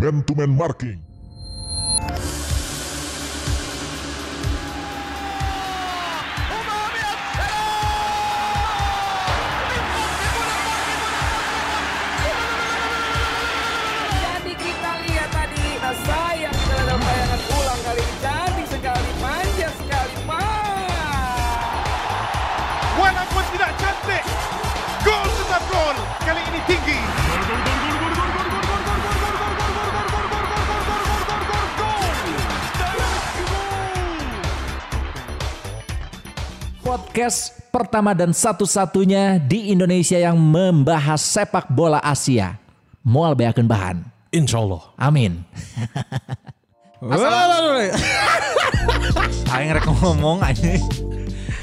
Man to Man Marking. Jadi kita lihat tadi nah, sayang sekali dalam bayangan ulang kali ini cantik sekali, manja sekali, Mas. Walaupun tidak cantik, gol tetap gol. Kali ini tinggi. podcast pertama dan satu-satunya di Indonesia yang membahas sepak bola Asia. Mual beakeun bahan. Insya Allah. Amin. Aing rek ngomong aja.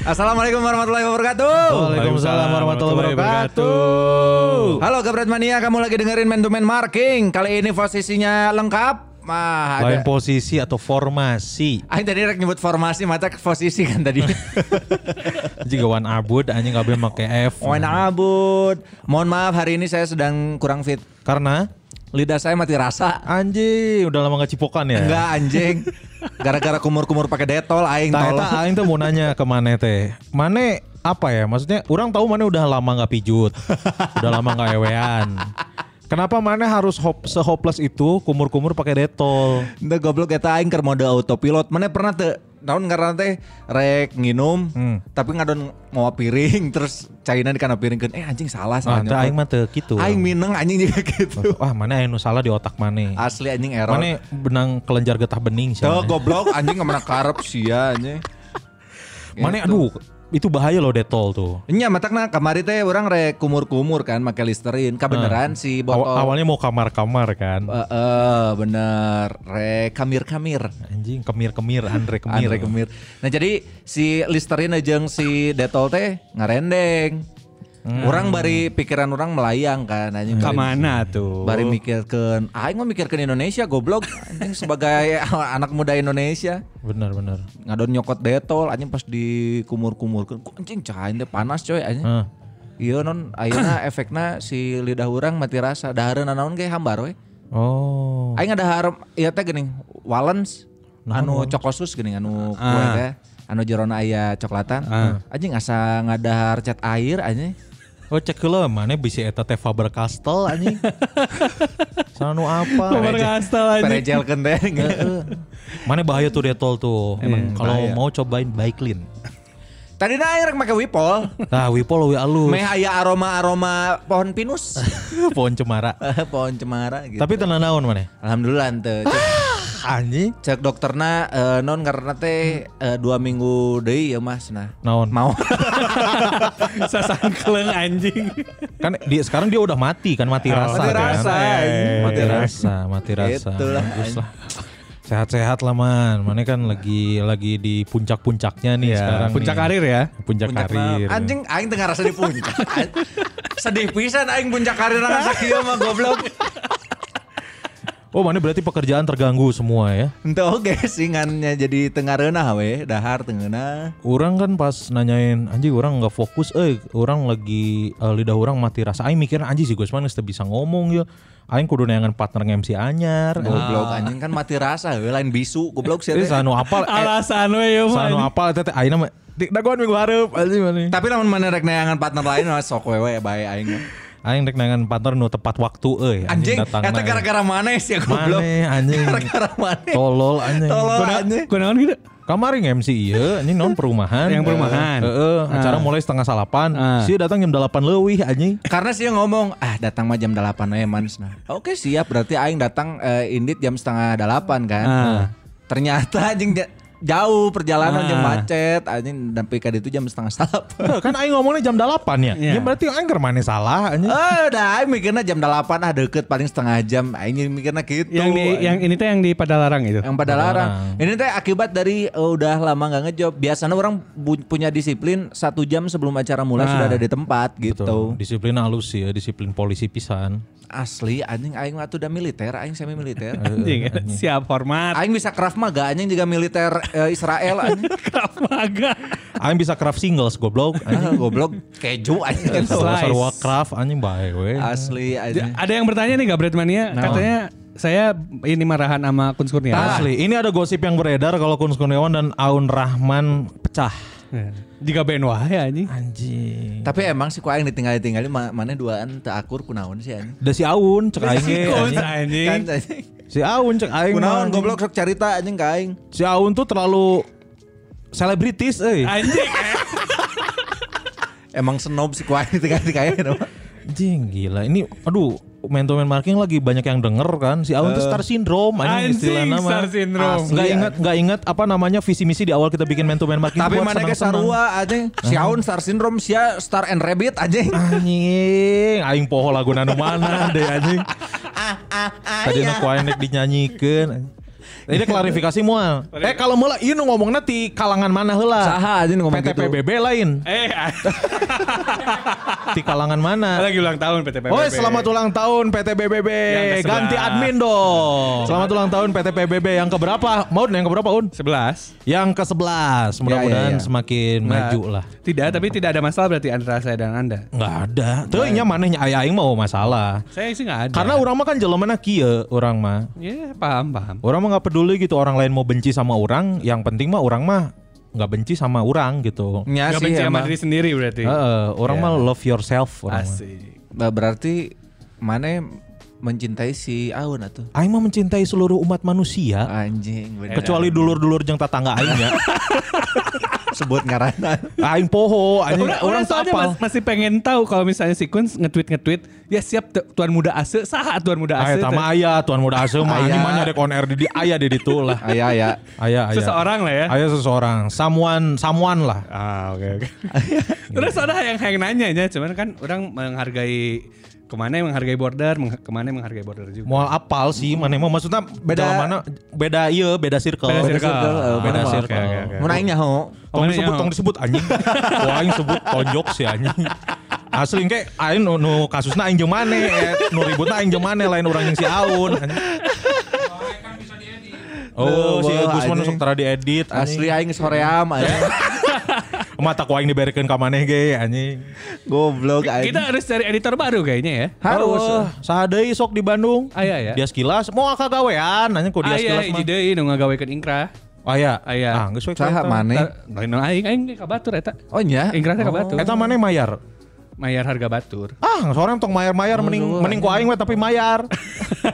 Assalamualaikum warahmatullahi wabarakatuh. Waalaikumsalam warahmatullahi wabarakatuh. Halo Gabret Mania, kamu lagi dengerin Man to Man Marking. Kali ini posisinya lengkap. Mah ada. Lain posisi atau formasi. Aing tadi rek nyebut formasi, mata ke posisi kan tadi. Jika wan abud anjing nggak boleh pakai F. Wan abud. Mohon maaf hari ini saya sedang kurang fit. Karena Lidah saya mati rasa. anjing udah lama nggak cipokan ya. Enggak anjing. Gara-gara kumur-kumur pakai detol aing Nah, tol. eta aing tuh mau nanya ke Mane teh. Mane apa ya? Maksudnya orang tahu Mane udah lama nggak pijut. udah lama nggak ewean. Kenapa Mane harus hop sehopeless itu kumur-kumur pakai detol? Nda goblok eta aing keur mode autopilot. Mana pernah teu naon karena teh rek nginum Hmm. tapi ngadon ngawa piring terus cainan di kana piringkeun eh anjing salah salah Nah, teu nyokot. aing mah Oh, teu gitu. aing mineng anjing juga gitu. Wah, Mane aing nu salah di otak Mane. Asli anjing error. Mane benang kelenjar getah bening sih. Tuh goblok anjing kemana karep sia anjing. Gitu. Mane aduh itu bahaya loh detol tuh. Nya matakna kamari teh orang rek kumur-kumur kan make listerin kabeneran si botol. Nah. Aw- awalnya mau kamar-kamar kan. Eh, eh, bener rek kamir-kamir. Anjing kemir-kemir Andre kemir. Andre Kemir. Nah jadi si Listerine jeung si Detol teh ngarendeng. Orang bari pikiran orang melayang kan anjing. Ke Bari- mana tuh? Bari mikirkeun, aing mah mikirkeun Indonesia goblok anjing sebagai anak muda Indonesia Bener bener. ngadon nyokot detol anjing pas dikumur-kumurkeun. Ku anjing cahain teh panas coy anjing. Heeh. Iya non ayeuna efekna si lidah urang mati rasa dahareuna naon ge hambar we. Oh. Aing ada harap iya teh gini Walens anu cokosus gini anu kue teh anu jerona aya coklatan anjing asa ngadahar cat air anjing Oh cek heula Mane bisi eta teh Faber Castell anjing. Oh, Sanu apa? Nomor kastel aja. perejel teh Heeh. Mane bahaya tuh detol tuh. Emang kalau bahaya. mau cobain Baiklin. tadi na air make wipol Nah, Wipol we alus. meh aya aroma-aroma pohon pinus Pohon cemara. pohon cemara gitu Tapi tenang naon Mane? alhamdulillah teh cek, Anjing. cek dokterna eh, non karena teh eh, dua minggu deui ya mas nah Naon? mau Sasangkleng anjing. Kan dia sekarang dia udah mati kan mati rasa Ah, mati kan? rasa, anjing. mati Mati rasa mati rasa Itulah, bagus iya. Gitu lah sehat-sehat lah man mana kan lagi lagi di puncak-puncaknya nih sekarang Puncak nih. karir ya. Iya. puncak, karir anjing aing tengah rasa di puncak sedih pisan aing puncak karir nang sakieu mah goblok oh mana berarti pekerjaan terganggu semua ya Ente oke sih ngannya jadi tengah renah we, dahar tengena. Orang kan pas nanyain anjing orang nggak fokus, eh orang lagi eh, lidah orang mati rasa. Aing mikir anjing si Gusman geus teu bisa ngomong ya. Aing kudu neangan partner MC anyar. Goblok anjing kan mati rasa we, lain bisu goblok sih. Terus anu apal eh, Alasan we ya sanu man. apal teh teh ayeuna mah "Dik, dagoan minggu hareup anjing mana. Tapi lamun mana rek neangan partner lain mah sok wewe bae aing. mah. Aing rek nangan partner nu tepat waktu euy. Anjing datangna, eta eh. gara-gara mana sih goblok. Mane, anjing. Gara-gara mana? Tolol anjing. Tolol anjing. Kunaon gitu? Kamari MC iya, anjing non perumahan. Yang perumahan. Heeh, acara mulai setengah salapan. Ah. Sih datang jam 8 leuwih anjing. Karena sih ngomong, ah datang mah jam 8 we manis nah. Oke siap berarti aing datang eh, indit jam setengah 8 kan. Ah. Ternyata anjing ja- jauh perjalanan Ah. jam macet anjing dan PK itu jam setengah 8. Eh, kan aing ngomongnya jam 8 ya. Iya. Ya berarti aing keur mane salah anjing. Oh, udah aing mikirnya jam 8 ah deket paling setengah jam. Aing mikirnya gitu. Yang di yang ini teh yang di Padalarang itu. yang pada larang. Ini teh akibat dari eh, udah lama nggak ngejob. Biasanya orang bu- punya disiplin satu jam sebelum acara Ah. mulai sudah ada di tempat gitu. Disiplin halus sih ya, disiplin polisi pisan. Asli anjing aing mah tuh udah militer, aing semi militer. Anjing, siap hormat. aing bisa Krav Maga anjing juga militer eh, Israel anjing. Krav Maga. Aing bisa craft singles goblok Ah, anjing. goblok keju anjing. Slice. Sarwa craft anjing bae we. Asli anjing. Ada yang bertanya nih Gabret Mania, katanya saya ini marahan sama Kun Kurniawan. Asli, ini ada gosip yang beredar kalau Kun Kurniawan dan Aun Rahman pecah. Ya. Jika Ben Wahai anjing. Anjing. Tapi emang si kuaing ditinggal-tinggalin ma- mana duaan teu akur kunaon sih anjing. Da si Aun cek aing ge, Kun, anjing. anjing. Kan anjing. Si Aun cek aing. mah, Kunaon anjing. goblok sok carita anjing ka aing. Si Aun tuh terlalu selebritis euy. Anjing. Emang snob si kuaing ditinggal-tinggalin apa? Anjing gila. Ini aduh main to man marking lagi banyak yang denger kan. Si Aun tuh star syndrome anjing Anjing istilahnya Star mah. Syndrome. Nggak ingat, nggak ingat apa namanya visi misi di awal kita bikin main to man marking. Tapi buat mana ke senang-senang. sarua anjing. Si Aun star syndrome sia star and rabbit anjing. Anjing, aing poho lagu nanu mana deh anjing. Tadi nu kuaing dek dinyanyikeun. Ini klarifikasi mual. Eh kalau mula ieu nu ngomongna ti kalangan mana heula? Saha anjing ngomong gitu. PTPBB lain. Eh, ah. Ti kalangan mana? lagi ulang tahun PT PBB. Oi, selamat ulang tahun PTBBB. Yang ke sebelas. Ganti admin dong. Selamat ulang tahun PTPBB yang keberapa? Mau yang keberapa, Un? 11. Yang ke-11. Mudah-mudahan ya. semakin maju lah. Nah, Tidak, tapi tidak ada masalah berarti antara saya dan Anda. Enggak ada. Teu nya manehnya aya aing mau masalah. Saya sih nggak ada. Karena orang mah kan jelemana kieu orang mah. ya paham paham. Orang mah nggak peduli gitu orang lain mau benci sama orang, yang penting mah orang mah nggak benci sama orang gitu. Nya Nggak sih benci sama emang. diri sendiri berarti. Heeh, orang mah love yourself orang mah. Asik. Nah, berarti mana mencintai si Aun atuh. Aing mah mencintai seluruh umat Ah, manusia Anjing iya. bener. kecuali dulur-dulur jeung tetangga aing ya. sebut ngaranna. aing poho, aing Orang, orang orang soalnya sapal. mas- masih pengen tahu kalau misalnya si Kun nge-tweet nge-tweet, ya siap tu- tuan muda ase, saha tuan muda Aya ase. tama aya tuan muda asuh mah Aya. anjing mah nyadek on air di di- aya di ditu lah. Aya aya. Aya aya. Seseorang lah ya. Aya seseorang, someone someone lah. Ah oke oke. Terus ada yang yang nanya ya, cuman kan orang menghargai kemana yang menghargai border, meng- kemana yang menghargai border juga. Moal apal sih mana mah maksudnya beda mana beda iya beda circle. Beda circle. eh, beda Ah, oke, circle. oke, oke. oh, Mun aing nyaho. Tong Pokoknya disebut, nyaho. tong disebut anjing. Wah, aing sebut tonjok sih anjing. Asli engke aing nu, nu kasusna aing jeung mane, eh, nu ributna aing jeung mane lain urang jeung si Aun. anjing. Oh, si Wah, Gusman anjing. sok tara diedit Asli ya. aing anjing. soream aja. Mata ku aing diberekeun ka maneh ge anjing. Goblok aing. Kita harus cari editor baru kayaknya ya. harus. Oh, saha deui sok di Bandung? Aya ya. Dia sekilas mau ka gawean anjing ku dia Aya sekilas hiji mah. deui Ah, iya, nu ngagawekeun ingkrah. Aya. Aya. Ah, geus we ku Saha eta. maneh? Tar- Lain nu aing aing ge ka batur eta. Oh nya. Ingkrah teh ka batur. Eta maneh mayar. mayar harga batur. Ah, seorang tong Oh, mayar-mayar mending mending ku aing we tapi mayar.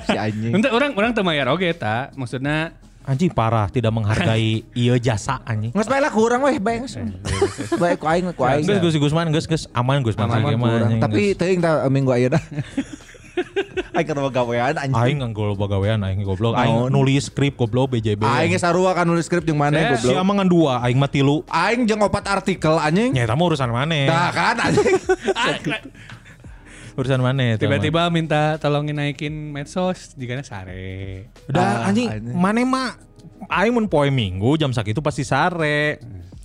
Si anjing. Ente orang orang teu mayar oge eta. Maksudnya Anjing parah tidak menghargai ieu jasa anjing. Nges bae lah kurang weh bae Eh, iya, nges. Bae ku aing ku aing. Gus Gus Gusman Gus Gus aman Gusman Aman, lagi mah kurang. anjing, Tapi Gus. teuing ta eh, minggu ayeuna. Aing ketemu gawean anjing. aing nganggol bagawean aing goblok Naon? aing nulis skrip goblok BJB Aing ge sarua kan nulis skrip jeung mana Eh, si goblok. amang ngan dua aing mah tilu Aing jeung opat artikel anjing. nya eta mah urusan maneh Nah kan anjing. Ah, kla- urusan maneh eta mah. tiba-tiba minta tolongin naikin medsos jika sare. Ah, udah anjing anjing. maneh mah aing mun poe minggu jam sakitu pasti sare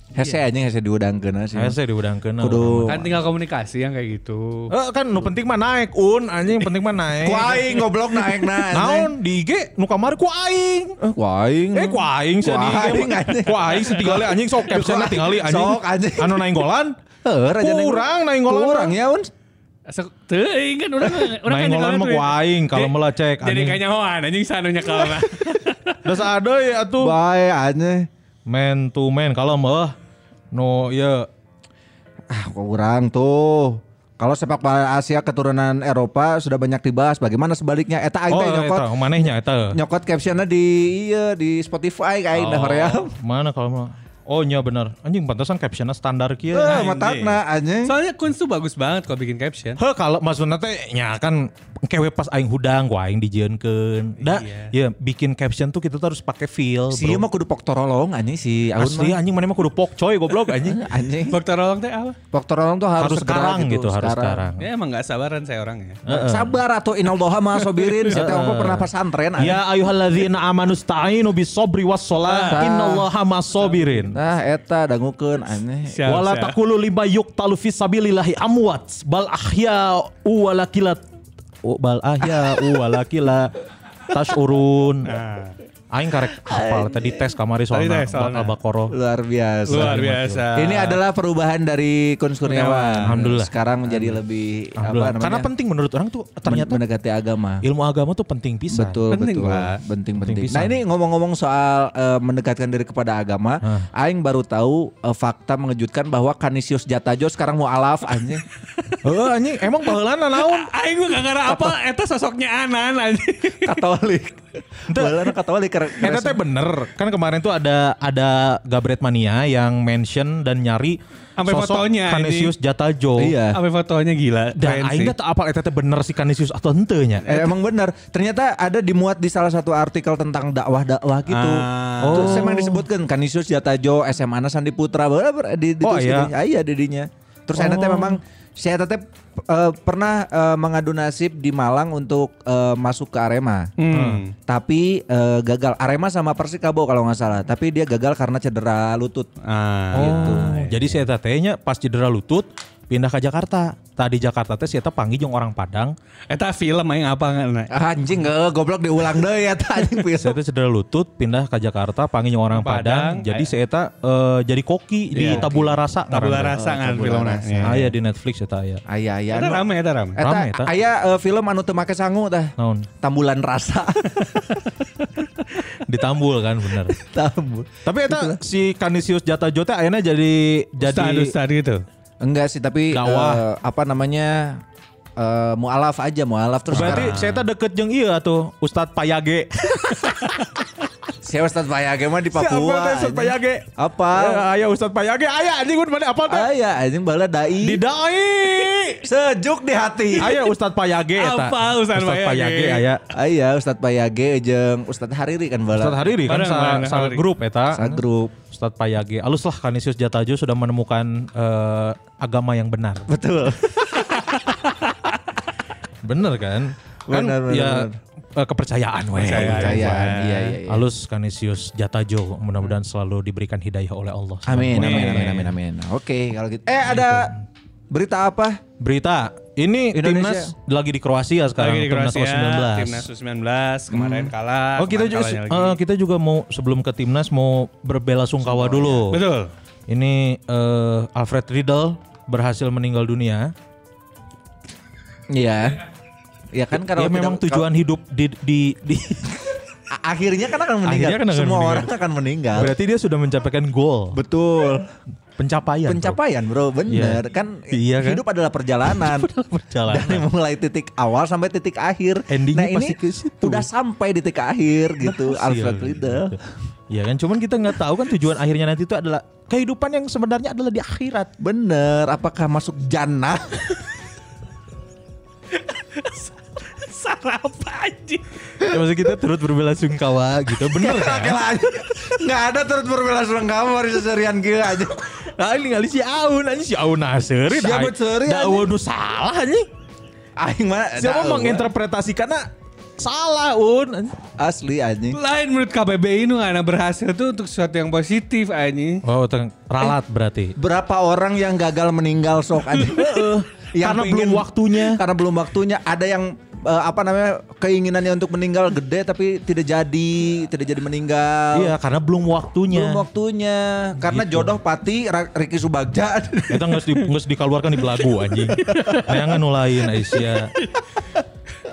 Hese anjing hese diudangkeun sih. saya saya diudangkeun Kudu. Kan tinggal komunikasi yang kayak gitu. Eh kan nu penting mah naik un anjing penting mah naik Ku aing goblok naik na anjing. naon di IG nu kamari ku aing Ku aing. Eh ku aing sih Ku aing, anjing Hmm. anjing. Ku aing sih tinggalin anjing sok captionnya tinggalin anjing Sok, anjing. Anu naenggolan Heuh, raja naik- Kurang naenggolan Kurang ya un. Asa teuing kan urang urang Main ngolan nyekolan mah duit. ku aing, kalau Jadi- melah cek, Jadi anjing. kayaknya hoan anjing sanu nyekel. Das ada ya tuh. Bae anjing. Man to man kalau mah no ya Ah, kurang tuh. Kalau sepak bola Asia keturunan Eropa sudah banyak dibahas. Bagaimana sebaliknya? Eta aing oh teh Ah, nyokot. eta manehnya eta. Nyokot captionnya di iya di Spotify kayak oh. hoream. Mana kalau mah? Oh iya benar. Anjing pantesan captionnya standar kieu. Eh, Nah, matakna anjing. Soalnya Kunz tuh bagus banget kalau bikin caption. Heh kalau maksudna teh nya kan kewe pas aing hudang ku aing dijieunkeun. Da Iya. ya bikin caption tuh kita tuh harus pakai feel. Si ieu bro. mah kudu pok torolong anjing si Aun mah. Asli anjing mana mah kudu pokcoy goblok anjing. Anjing. Dokter Rolong teh apa? Pok torolong tuh harus, harus segera Nah, sekarang gitu, harus sekarang. Ya emang gak sabaran saya orangnya. Sabar atau inaldoha ma sobirin. Saya teh pernah pesantren anjing. Ya ayuhalladzina amanu sta'inu bisobri wassalah Ah. innallaha masabirin. Nah, eta dangukeun anjing. Siap, wala siap. taqulu lima yuqtalu fi sabilillahi amwat bal ahya wala kila bal ahya wala kila tas urun. Aing karek hafal tadi tes kamari soalnya tes bakal soalna. bakoro. Luar biasa. Luar biasa. Ini adalah perubahan dari Kun Kurniawan. Ya, Alhamdulillah. Sekarang menjadi lebih Alhamdulillah. apa namanya? Karena penting menurut orang tuh ternyata mendekati agama. ilmu agama tuh penting pisan. Betul, Penting, betul. Pak. Penting, penting. Penting Nah pisan. ini ngomong-ngomong soal eh, mendekatkan diri kepada agama, Ah. Aing baru tahu eh, fakta mengejutkan bahwa Kanisius Jatajo sekarang mau alaf anjing. Heeh, anjing emang baheulana naon? Aing gue gak ngarah apa, eta sosoknya Anan anjing. Katolik. Balanan Katolik. keren- keren Eta teh bener. Kan kemarin tuh ada ada Gabret Mania yang mention dan nyari Sampai fotonya, Kanisius Jatajo. Iya. Apa fotonya gila. Dan keren aing sih. teh teu apal eta teh bener si Kanisius atau henteu nya. Eh, emang benar. Ternyata ada dimuat di salah satu artikel tentang dakwah-dakwah gitu. Ah. Terus emang disebutkan kan, Kanisius Jatajo, SMA Ana Sandi Putra, bla- bla- di, di Oh, terus iya. gitu. Ah, iya dedinya. Terus saya teh memang saya teh eh, pernah eh, mengadu nasib di Malang untuk eh, masuk ke Arema. Hmm. Tapi eh, gagal. Arema sama Persikabo kalau nggak salah. Tapi dia gagal karena cedera lutut. Ah. Gitu. Jadi si eta teh nya pas cedera lutut pindah ke Jakarta. Tadi Jakarta teh si eta panggil jeung orang Padang. Eta film aing apa nggak? Anjing eh, goblok diulang deh ya tadi Si eta cedera lutut pindah ke Jakarta panggil jeung orang Padang. Padang, Jadi aya. si eta eh, jadi koki di Iya. Tabula Rasa. Tabula ngaranna. rasa ngan Tabula filmna. Rasa. Ya, Iya. Aya di Netflix eta iya. aya. Ayah, ayah. Eta rame, eta rame. Eta, Rame, eta. aya eh, film anu teu make sangu tah. Naon? Tambulan rasa. Ditambul kan bener. Tambul. Tapi eta si Kanisius Jatajo teh akhirnya jadi jadi Ustad, ustad gitu. Enggak sih, tapi eh, Dakwah. apa namanya? eh, mualaf aja, mualaf terus. Berarti saya teh deket jeung ieu atuh Ustadz Payage. Saya Ustaz Payage mah di Papua. Siapa teh Ustadz anjing. Payage? Apa? Ya, Aya Ustadz Payage, aya anjing mun mana apal teh? Aya Ah. anjing bala Di dai. dai. Sejuk di hati. Aya Ustadz Payage eta. Apa Ustadz Payage? aya. Aya Iya, Ustaz Payage jeung Ustaz Hariri kan bala. Ustadz Hariri kan Bareng, sa, bareng, sa Hariri. grup eta. Sa grup. Ustadz Payage. Alus lah Kanisius Jatajo sudah menemukan eh, agama yang benar. Betul. Bener kan? Kan Benar, benar, ya benar. eh, kepercayaan weh. Percayaan. Iya, iya, iya. Alus Kanisius Jatajo mudah-mudahan selalu diberikan hidayah oleh Allah. Amin, amin, amin, amin, amin. Oke, kalau gitu. Eh, ada berita apa? Berita ini Indonesia. timnas lagi di Kroasia sekarang Lagi di Kroasia, timnas U19. timnas U19 kemarin kalah. Oh kita kemarin juga kalahnya lagi. eh, kita juga mau sebelum ke timnas mau berbela sungkawa dulu. iya. Betul. Ini eh, Alfred Riedel berhasil meninggal dunia. Iya. Ya kan karena ya kita- memang tujuan hidup di di, di- A- akhirnya kan akan meninggal. Akhirnya kan akan Semua meninggal. orang akan meninggal. berarti dia sudah mencapaikan Kan. goal. Betul. Pencapaian. Bro. Pencapaian bro, bener Ya, Iya. kan, Iya kan? Hidup adalah perjalanan. perjalanan. Dari mulai titik awal sampai titik akhir. Endingnya nah ini pasti ke situ. Iya, udah sampai di titik akhir gitu, Alfred Riedel. Ya kan cuman kita nggak tahu kan tujuan akhirnya nanti itu adalah kehidupan yang sebenarnya adalah di akhirat. Bener, apakah masuk jannah? Sarap anjing. Ya, maksud kita turut berbela sungkawa gitu bener kan? Gila aja. Nggak ada turut berbela sungkawa hari seserian gila aja. Nah ini ngali si Aun anjing si Aun Nasiri. Siapa Seurin, Dakwah nu salah anjing. Aing mana? Siapa tahu, menginterpretasi karena salah Un. Asli anjing. Lain menurut KBBI nu anak berhasil tuh untuk sesuatu yang positif anjing. Oh, teng- ralat berarti. Berapa orang yang gagal meninggal sok anjing? Karena belum waktunya. Karena belum waktunya. Ada yang eh, apa namanya keinginannya untuk meninggal gede tapi tidak jadi, tidak jadi meninggal. Iya, karena belum waktunya. Belum waktunya. Karena jodoh pati Ra- Ricky Subagja. Kita nggak di, nggak dikeluarkan di belagu anjing. Neangan nulain Aisyah.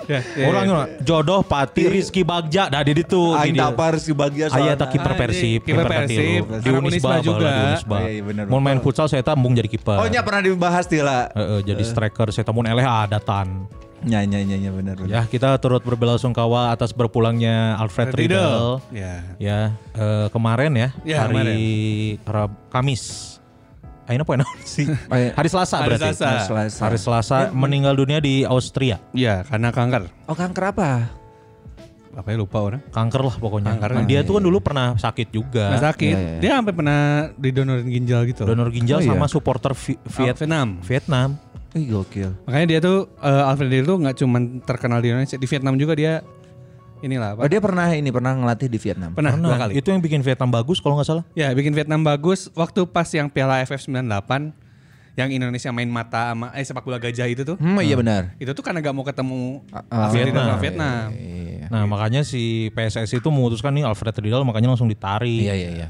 Ya, ya, Orang ya. nula, jodoh pati Rizky Bagja dah di ditu. Aing tapar si Bagja Iya, Aya soalnya. Oh, tak kiper Anjing, Persib, kiper Persib. katilu. di Anak Unisba Unisba juga. juga. Di Unisba. Iya, iya, bener, Mau main futsal saya tambung jadi kiper. Oh nya pernah dibahas Tila. Heeh, jadi striker saya tamun eleh adatan. Nya nya nya nya benar benar. Ya, kita turut berbela-sungkawa atas berpulangnya Alfred Riedel. Riedel. Ya. Ya, eh, kemarin ya, Ya, hari Rab- Kamis. Aina poin naon sih? iya. Hari Selasa Hari berarti. Selasa. Hari Selasa. Hari Selasa meninggal dunia di Austria. Ya, karena kanker. Oh kanker apa? Apa ya lupa orang? Kanker lah pokoknya. Kanker, Nah, dia tuh kan dulu pernah sakit juga. Nggak sakit. Dia sampai pernah didonorin ginjal gitu. Donor Oh, ginjal iya. sama supporter Vi- Viet- Vietnam. Vietnam. Ih gokil. Makanya dia tuh eh, Alfred Riedel tuh nggak cuma terkenal di Indonesia, di Vietnam juga dia inilah Oh apa? dia pernah ini pernah ngelatih di Vietnam. Pernah, dua Nah, kali. Itu yang bikin Vietnam bagus kalau nggak salah. Ya, bikin Vietnam bagus waktu pas yang Piala AFF 98 yang Indonesia main mata sama eh sepak bola gajah itu tuh. Hmm iya benar. Itu tuh karena gak mau ketemu ah, Alfred Riedel Vietnam. sama Vietnam. Iya. Nah, Nah makanya si PSSI itu memutuskan nih Alfred Riedel makanya langsung ditarik. Iya iya iya.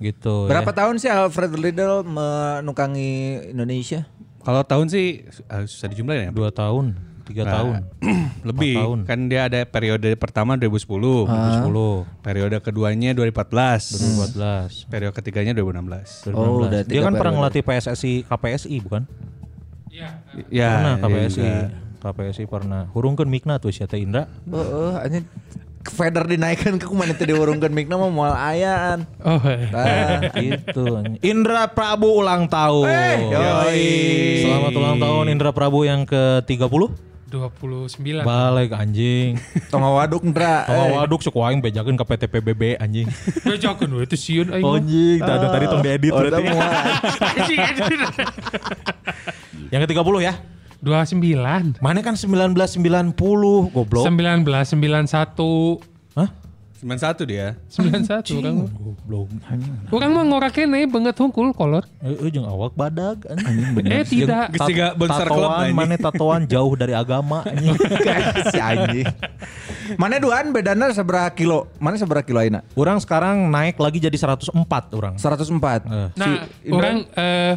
Gitu. Berapa ya. tahun sih Alfred Riedel menukangi Indonesia? Kalau tahun sih eh, susah dijumlahin ya. Dua tahun, tiga Nah, tahun, lebih empat tahun. kan dia ada periode pertama 2010, 10, periode keduanya 14. 2014, periode ketiganya 2016. Oh, udah Dia tiga kan periode. pernah ngelatih PSSI KPSI bukan? Nah, Iya, pernah Ya, KPSI. juga. KPSI pernah. Hurungkeun mikna tuh si Teh Indra. Heeh, anjing feather dinaikkan ke kumaha teh diurungkeun mikna mah moal ayaan. Ah, Oh, eh. Tah. gitu. Indra Prabu ulang tahun. Eh, yoi. Selamat ulang tahun Indra Prabu yang ke-30. 29. Iya. Balik anjing. Tonga waduk ndra. Oh, Oh, Kalau waduk suku aing bejakeun ke PTPBB anjing. Udah jagoan we, itu siun Oh, aing. iya. Oh, mah. Anjing, tadi tadi Ah. tong iya, diedit berarti. Anjing, anjing. Yang ke-30 ya. 29. Mana kan 1990 goblok. 19 91 Hah? 91 dia. 91 orang. Goblok. Orang mah ngora kene banget hungkul kolot. Eh, jeung awak badag anjing. Eh tidak. Geus tiga bonser klub Tatoan, anjing. mana tatoan jauh dari agama anjing. si anjing. Mana duaan bedana seberapa kilo? Mana seberapa kilo ayeuna? Orang sekarang naik lagi jadi 104 orang. 104. Eh. Nah, orang eh,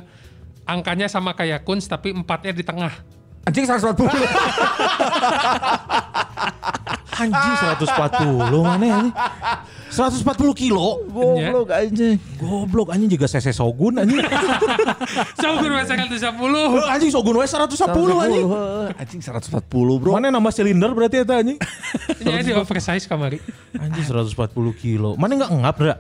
angkanya sama kayak Kunz tapi empatnya di tengah. Anjing 140. Anjing 140 mana anjing. 140 kilo. Goblok anjing. Goblok anjing juga sese sogun anjing. Sogun we 110. anjing sogun wae 110 anjing. 140. Anjing 140, Bro. Mana nambah silinder berarti eta anjing. Ini di oversize kamari. Anjing 140 kilo. Mana enggak engap, Dra?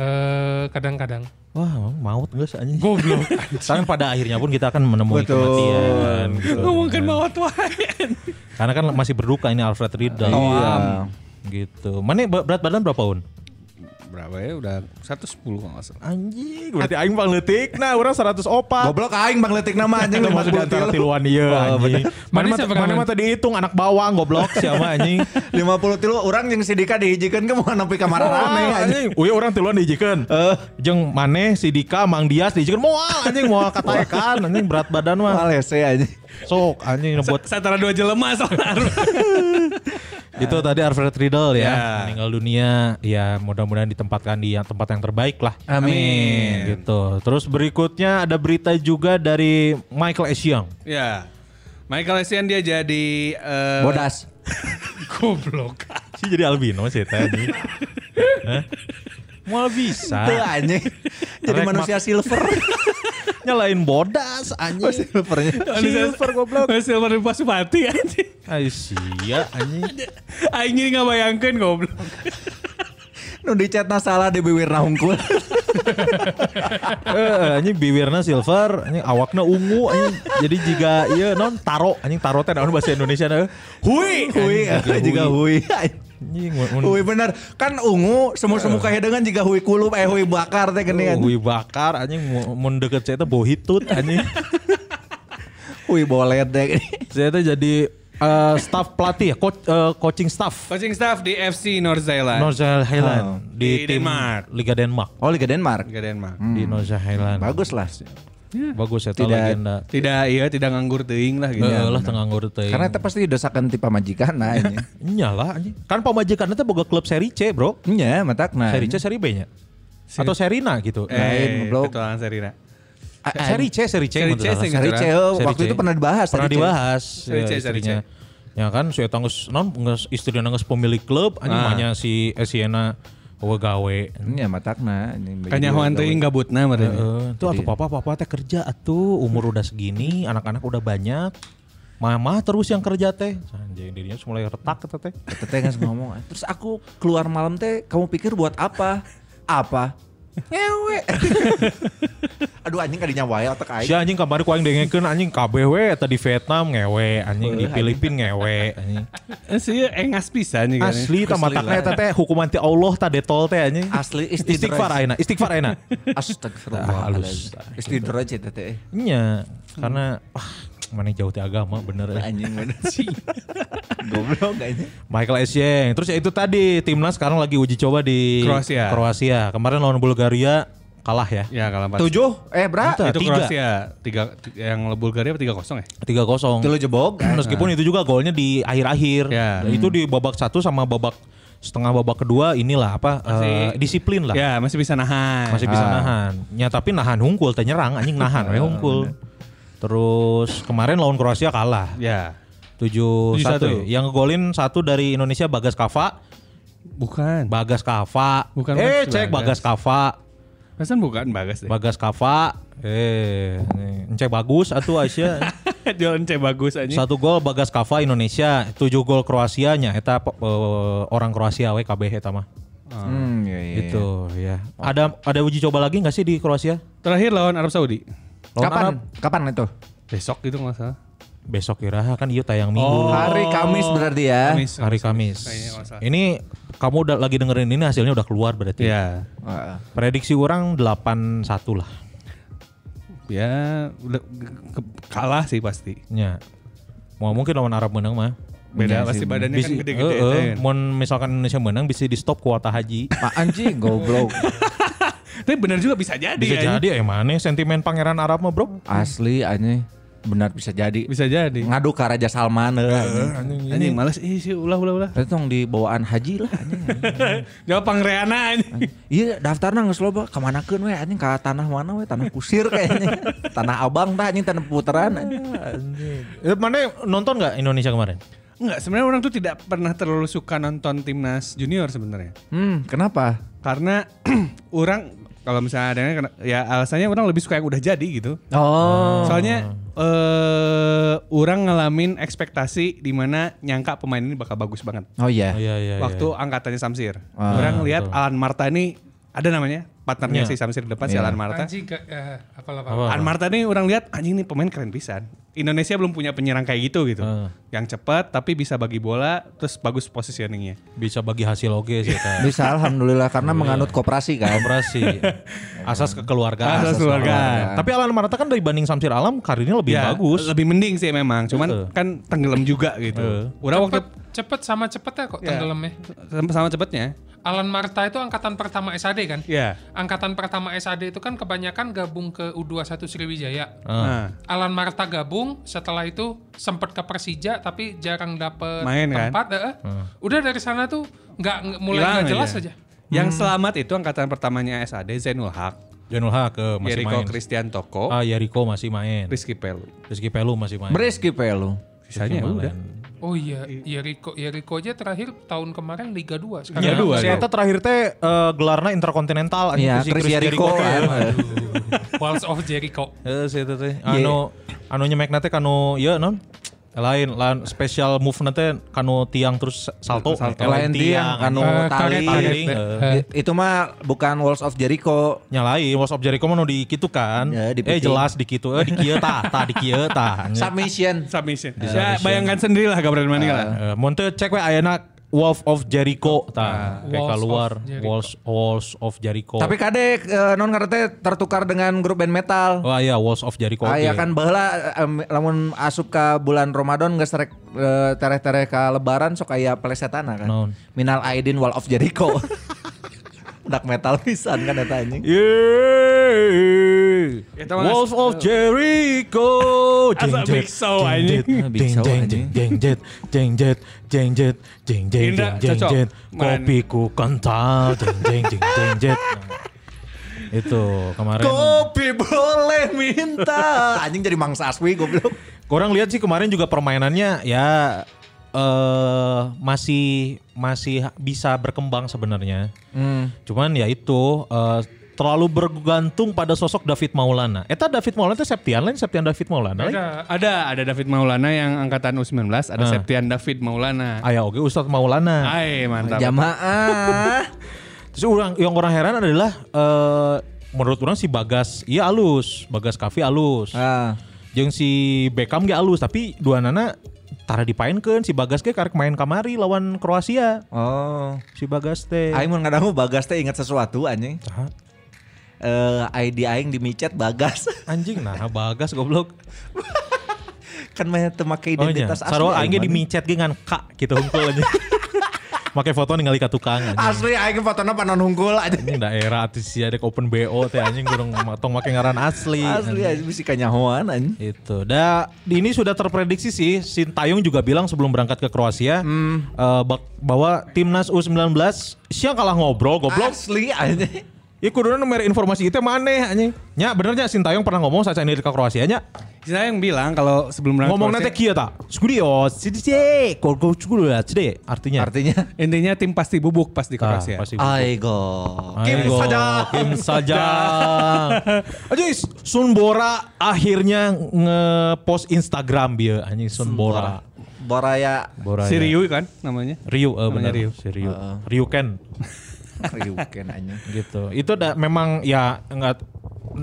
Eh, kadang-kadang. Wah, maut geus anjing. Goblok. Kan pada akhirnya pun kita akan menemui kematian gitu. Ngomongkan Eh. mawat wae. Karena kan masih berduka ini Alfred Riedel. Iya. Gitu. Mana ba- berat badan berapa un? Berapa ya? Udah 110 kalau nggak salah. Anjing, berarti aing bang letik. Nah, orang 104. Goblok aing bang letik nama anjing Itu masuk di 50 antara kilo. tiluan iya anjing. Mana Mana mah seberapa? mana mah tadi hitung anak bawang goblok siapa anjing. 50 kilo orang yang sidika dihijikan ke mau nepi kamar rame Moal, anjing. Eh. anjing. Uy orang tiluan dijikeun. Jeung Mane, si Dika, Mang Dias dijikeun moal anjing moal kata ekan anjing berat badan mah. Mal hese Eh, anjing. Sok anjing buat Setara dua jelema soalnya. itu tadi Alfred Riedel ya Ya. meninggal dunia. Ya mudah-mudahan ditempatkan di yang- tempat yang terbaik lah. Amin. Gitu. Terus berikutnya ada berita juga dari Michael Esiang. Ya. Michael Essien dia jadi eh, Bodas. Goblok. Si jadi albino sih tadi. Mau bisa Tuh anjing. Jadi Rek manusia silver. nyalain bodas anjing. Silvernya. Silver goblok. Silver di Pasupati anjing. Aisyah anjing. Aing ini nggak bayangkan goblok. Nu dicetna salah di bibirna hungkul. Eh, anjing biwirna silver, anjing awakna ungu anjing. Jadi jika iya non taro anjing taro teh naon bahasa Indonesia eh. na. Hui, Hui, juga hui. Anjing Eh. Hui bener. Kan ungu semu-semu kahedeungan juga hui kulup eh hui bakar teh geuning anjing. Hui bakar anjing mun- mun deket saya teh bohitut anjing. Hui bolet deh. Saya teh jadi eh, staff pelatih, coach, eh, coaching staff Coaching staff di FC North Zealand. Northern Highland Oh. di, Di tim Denmark. Liga Denmark Hmm. Oh Liga Denmark. Liga Denmark. di Northern Highland. Bagus lah. Bagus ya Tidak- legenda. Tidak iya tidak nganggur teuing lah gitu. Heeh lah tengah ngurut teuing. Karena itu pasti dosakan tipe majikan nah ini. Nyala anjing. Kan pamajikan itu boga klub seri C, Bro. Nya Iya, matakna. Seri C, seri B-nya. Atau Serina gitu. Lain, Eh, goblok. ketuaan Serina. Seri C, seri C. Seri menurut C, saya. sing- Seri C oh, gitu kan. Seri waktu C. itu pernah dibahas. Seri Pernah C. dibahas. Seri ya, C, seri istrinya. Ya kan, saya tanggus non nges- istrinya nangis pemilik klub, anjing Ah. banyak si Siena Owe gawe. Nya Iya, matakna. ini bagi Kanyahoan dua- Kan teuing nah, gabutna Eh, meureun. tuh atuh papa papa teh kerja atuh umur udah segini anak-anak udah banyak mama terus yang kerja teh anjing dirinya sudah mulai retak kata teh Teteh kan ngomong, terus aku keluar malam teh, kamu pikir buat apa? Apa? Ngewe. Aduh anjing kadinya wae otak si aing. anjing kamari ku aing dengekeun anjing KBW eta di Vietnam ngewe anjing di Filipina ngewe anjing Eh, Sih engas pisan juga. nih. asli tah matakna eta teh hukuman ti Allah tah detol teh anjing Asli istighfar aina istighfar aina Ah, halus. Astagfirullahaladzim. Istidroj ya teteh. nya Iya, Hmm. karena wah mana jauh ti agama bener eh. Anjing bener sih. Goblok anjing. Michael Essien. Terus ya itu tadi timnas sekarang lagi uji coba di Kroasia. Kroasia. Kemarin lawan Bulgaria kalah ya. Ya kalah empat. Tujuh? Eh berapa? Bentar. Itu tiga. Kroasia tiga t- yang Bulgaria apa tiga kosong ya? 3-0. Tilu jebog. Meskipun itu juga golnya di akhir-akhir. Nah. Ya. Itu di babak satu sama babak setengah babak kedua inilah apa eh, Masih- disiplin lah. Ya Ah. masih bisa nahan. Masih bisa nahan. Ya tapi nahan hungkul teh nyerang anjing nahan we hungkul. Terus kemarin lawan Kroasia kalah. Ya. 7-1. 7-1. ya. Yang ngegolin satu dari Indonesia Bagas Kava. Bukan. Bagas Kava. Bukan eh Bagas cek Bagas. Bagas Kava. Pesan bukan bagas deh. Bagas Kava. Eh, nih, cek bagus atuh Aisyah. Jalan C bagus aja. Satu gol Bagas Kava Indonesia, tujuh gol Kroasianya. Eta eh, orang Kroasia, we KB eta mah. Hmm, iya, iya. Gitu ya. Ada ada uji coba lagi nggak sih di Kroasia? Terakhir lawan Arab Saudi. Lawan iya. Kapan? Arab. Kapan itu? Besok gitu nggak salah. Besok kira kan iya tayang minggu. Hari Oh. Kamis berarti ya. Kamis. Hari Kamis. Oh, Kayaknya nggak salah. Ini kamu udah lagi dengerin ini hasilnya udah keluar berarti. Ya. Heeh. Prediksi orang 8-1 lah. Ya udah ke- ke- kalah sih pasti. Ya. Mau mungkin lawan Arab menang mah. Beda Iya pasti sih, badannya kan Bisi- gede-gede. eh, eh, kan. Mun misalkan Indonesia menang bisa di stop kuota haji. Ma anjing goblok. Tapi benar juga bisa jadi. Bisa ya. jadi ya mana sentimen pangeran Arab mah bro. Asli anjing. Benar bisa jadi. Bisa jadi. Ngadu ke Raja Salman eh, anjing. Anjing males ih sih ulah ulah ulah. Itu tong di bawaan haji lah anjing. Jawab pangreana anjing. Iya daftarna geus loba kamanakeun we anjing ka tanah mana we tanah kusir kayaknya. tanah Abang tah anjing tanah puteran anjing. Eh, mana nonton nggak Indonesia kemarin? Enggak, sebenarnya orang tuh tidak pernah terlalu suka nonton timnas junior sebenarnya. Hmm, kenapa? Karena orang kalau misalnya ada yang kena- ya alasannya orang lebih suka yang udah jadi gitu. Oh. Soalnya eh orang ngalamin ekspektasi di mana nyangka pemain ini bakal bagus banget. Oh iya. Iya iya. Ah, Waktu angkatannya Samsir. orang lihat Alan Marta ini ada namanya Iya. partnernya si Samsir di depan si Alan Marta. Anjing ke, eh, apalah, apalah. Apa? An Marta nih orang lihat anjing nih pemain keren pisan. Indonesia belum punya penyerang kayak gitu gitu. Heeh. Yang cepat tapi bisa bagi bola terus bagus positioningnya. Bisa bagi hasil oke sih kan. Bisa alhamdulillah karena menganut koperasi kan. Operasi. Asas kekeluargaan. Asas keluarga. Tapi Alan Marata kan dibanding Samsir Alam karirnya lebih Iya. bagus. Ya, Lebih mending sih memang, cuman Heeh. kan tenggelam juga gitu. Udah waktu Iya. Cepet, cepet sama cepetnya kok tenggelamnya. sama cepetnya. Alan Marta itu angkatan pertama SAD kan? Ya. Angkatan pertama SAD itu kan kebanyakan gabung ke U21 Sriwijaya. Nah, Alan Marta gabung, setelah itu sempat ke Persija tapi jarang dapet Main kan? tempat. eh, eh. Udah dari sana tuh nggak nggak- mulai hilang nggak jelas aja. Yang Hmm. selamat itu angkatan pertamanya SAD Zainul Haq, Janul Haq eh, masih Jericho main. Christian Toko, Ah, Yeriko masih main. Rizky Pelu. Rizky Pelu masih main. Beriski pelu. Sisanya ya udah. Oh iya, Yeriko Yeriko aja terakhir tahun kemarin Liga 2 sekarang. Ya, Liga dua, si dua. Eta terakhir teh eh, gelarnya Interkontinental anjing Iya, si Chris Jericho. teh. Walls of Jericho. Heeh, Eh, si Eta teh. Anu anu nyemek teh kanu ieu non. Lain lain special move nanti kanu tiang terus salto. Lain tiang anu Eh, tali. karet, karet. I- Eh. Itu mah bukan Walls of Jericho. nyalain Walls of Jericho mah nu di kitu kan. Ya, di eh peti. jelas di kitu, eh di kieu tah, tah di kieu tah. Submission. Submission. Ya, bayangkan sendirilah gambaran mana lah. Eh, mun teu cek we ayeuna Wolf of Jericho tah, kayak Walls keluar Nah, of Jericho. Walls Walls of Jericho. Tapi kadek eh, non ngerti tertukar dengan grup band metal. Wah iya Walls of Jericho. Ah, oke. ya kan baheula em, lamun asup ka bulan Ramadan geus terek eh, tereh-tereh ka lebaran sok aya pelesetana kan. Naon? Minal Aidin Wall of Jericho. Dak metal pisan kan eta anjing. Yeah. Eta mah Wolf ngas- of Jericho. Asa Jeng jet, Big jeng Show, anjing. jet, Ah, Big jeng Show, jeng anjing. jeng jet, jeng jet, jeng jet, jeng jeng Indra, jeng jeng cocok. jet. Main. Kopiku kental, jeng jeng jeng jeng jet. Itu kemarin. Kopi boleh minta. Anjing jadi mangsa aswi goblok. Kurang lihat sih kemarin juga permainannya ya eh masih masih bisa berkembang sebenarnya. Cuman ya itu eh, terlalu bergantung pada sosok David Maulana. Eta David Maulana itu Septian lain Septian David Maulana. lain. Ada Ah, Ada ada David Maulana yang angkatan U19, Ah. ada Septian David Maulana. Aya oge Ustadz Maulana. Ay, mantap. Jamaah. Terus orang yang orang heran adalah eh menurut orang si Bagas iya alus, Bagas Kavi alus. Ah. Jeung si Beckham ge alus tapi dua nana tara dipaenkeun si Bagas ge karek main kamari lawan Kroasia. Oh. Si Bagas teh. Aing mun ngadangu Bagas teh ingat sesuatu anjing. Tah. Eh ID aing dimicet Bagas. Anjing nah bagas goblok. kan mah teu make Oh nya. identitas asli. ya, Sarwa Oh, iya. aing mah. di micet ge ngan K gitu hungkul aja. Make foto ningali ka tukang. anjing. Asli aing fotona panon hungkul aja. Ini daerah atis ya dek open BO teh anjing gurung tong make ngaran asli. Asli aing anjing. bisi kanyahoan anjing. Itu. Da, ini sudah terprediksi sih. Sintayong juga bilang sebelum berangkat ke Kroasia Hmm. eh, bak- bahwa timnas U19 siang kalah ngobrol goblok. Asli anjing. Ya kudunya nomor informasi itu mana anjing. Nya bener nya Sintayong pernah ngomong saat ini ke Kroasia nya. Saya yang bilang kalau sebelum berangkat Ngomong ke nanti kia Kroasia, tak? Skudio, sidi oh, sih, eh, gol gol gol ya, sidi. Artinya. Artinya intinya tim pasti bubuk pas di Ah, Kroasia. pasti. Aigo. Kim Ayo, saja. Kim saja. Aja Sunbora akhirnya nge-post Instagram dia anjing Sunbora. Boraya Bora. Si ya. Ryu kan namanya. Ryu, eh, benar. Namanya Ryu. Ah, Si Ryu. Ryu Ken Ryuken anjing. gitu. Itu da, memang ya enggak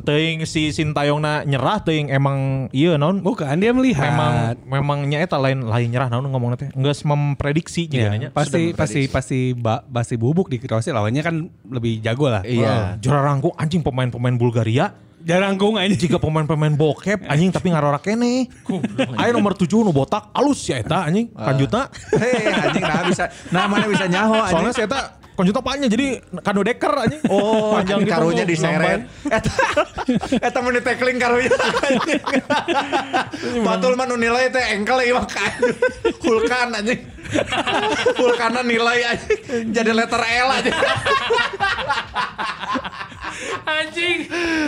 teuing si Sintayongna nyerah teuing emang iya naon Bukan dia melihat. memang memang nyaeta lain lain nyerah naon ngomongna teh enggak memprediksi Iya, juga nanya. pasti pasti pasti ba- pasti bubuk di Kroasia lawannya kan lebih jago lah. Iya. Jorarangku Eh, anjing pemain-pemain Bulgaria Jarangkung aja. jika pemain-pemain bokep anjing tapi ngarora kene. Ayo nomor 7 nu botak alus ya eta anjing kanjuta. Hei anjing nah bisa nah mana bisa nyaho anjing. Soalnya saya eta kan kanjuta panjang ya, jadi kado deker anjing. Oh, Panjang gitu, karunya diseret. Eh, Eta eta mun tackling karunya. Patul mah nu nilai teh engkel ieu mah ka- Kulkan anjing. Kulkana nilai anjing. Jadi letter L anjing. Anjing.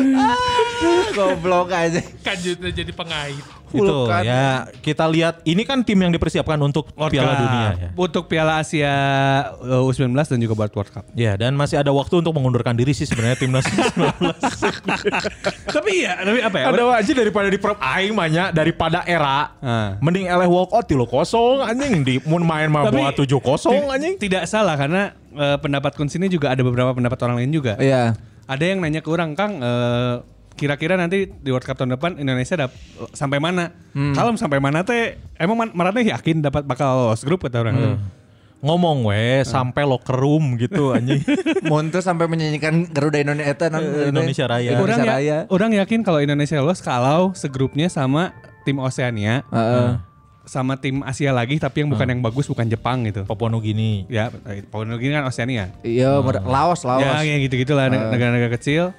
Goblok anjing. Kanjutnya jadi pengait. Itu Hulkan. ya kita lihat ini kan tim yang dipersiapkan untuk World Piala Cup. Dunia ya. Untuk Piala Asia uh, U19 dan juga buat World Cup. Ya, dan masih ada waktu untuk mengundurkan diri sih sebenarnya timnas Ya, 19. tapi ya, tapi apa ya? ada wajib daripada di prep aing mah nya, daripada era. Ah. Mending eleh walk out di lo kosong anjing di mun main mah Tapi- bawa 7 kosong Ti- anjing. Tidak salah karena eh, pendapat kun sini juga ada beberapa pendapat orang lain juga. Iya. Ada yang nanya ke orang Kang eh, kira-kira nanti di World Cup tahun depan Indonesia dap- sampai mana? Hmm. Kalau sampai mana teh emang man- Maratnya yakin dapat bakal lolos grup kata orang tuh. Hmm. Ngomong we sampai locker room gitu anjing. Montu sampai menyanyikan Garuda Indonesia eta non- Indonesia Raya. Orang, Indonesia ya- Raya. orang yakin kalau Indonesia lolos kalau segrupnya sama tim Oceania Heeh. sama tim Asia lagi tapi yang bukan yang bagus bukan Jepang gitu. Papua Nugini. Ya, Papua New Guinea kan Oceania. Iya, mer- Laos, Laos. Ya, kayak gitu-gitulah neg- negara-negara kecil.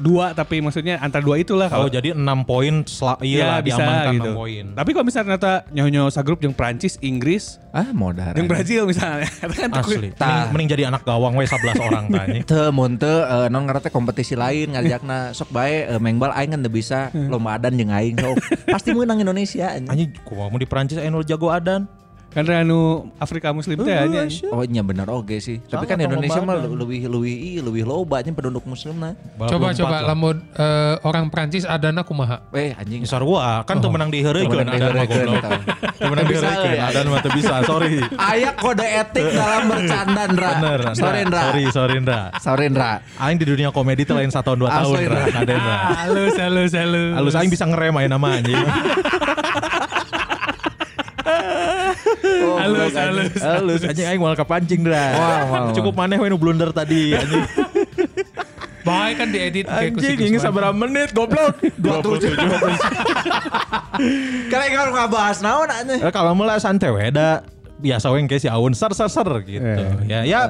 Dua tapi maksudnya antara dua itulah Kalau kalau jadi 6 poin Ya, sel- iya lah, diamankan gitu. enam poin. gitu. Nah, Tapi kalau misalnya ternyata nyonya sagrup yang Prancis, Inggris, Ah, modar. yang Brazil misalnya. Itu kan takut. Asli. Mending, Tah. mending jadi anak gawang we 11 orang tanya. Teu mun teu eh, non ngarete kompetisi lain ngajakna sok bae eh, mengbal aing kan teu bisa lomba adan jeung aing sok. Pasti menang Indonesia anjing. Hmm. Anjing, kumaha mun di Prancis anu jago adan. Kan anu Afrika Muslim teh aja. Oh iya bener oge sih. Tapi Sangat kan Indonesia mah lomba adan. leuwih leuwih ieu leuwih loba nya penduduk muslim nah. Coba 24 coba lah. lamun eh, orang Prancis Adana kumaha. Weh Eh, anjing. Nyesar gua kan tuh menang di Teu Oh. Heureukkeun menang di adan mah heureukkeun, goblok. tahu. Teu menang di Teu bisa, Heureukkeun ya. adan mah teu bisa, sorry. Aya kode etik dalam bercanda Ndra. Bener, Ndra. Sorry Ndra. Sorry, sorry Ndra. Sorry Ndra. Aing di dunia komedi tuh lain 1 tahun 2 Ah, tahun sorry, Ndra, Ndra. ada Ndra. Halus halus halus. Halus aing bisa ngerem aja nama anjing. Oh, goblok, Halus, anjing. halus. Halus anjing aing malah kepancing Wah, wah, Ndra. wah. Cukup maneh we nu blunder tadi anjing. Baik kan diedit kayak Anjing ini sabar menit goblok. 27. Kalian kan ngabahas naon anjing. Eh, kalau mulai santai we da biasa weng kayak si Aun ser ser ser gitu. Ya ya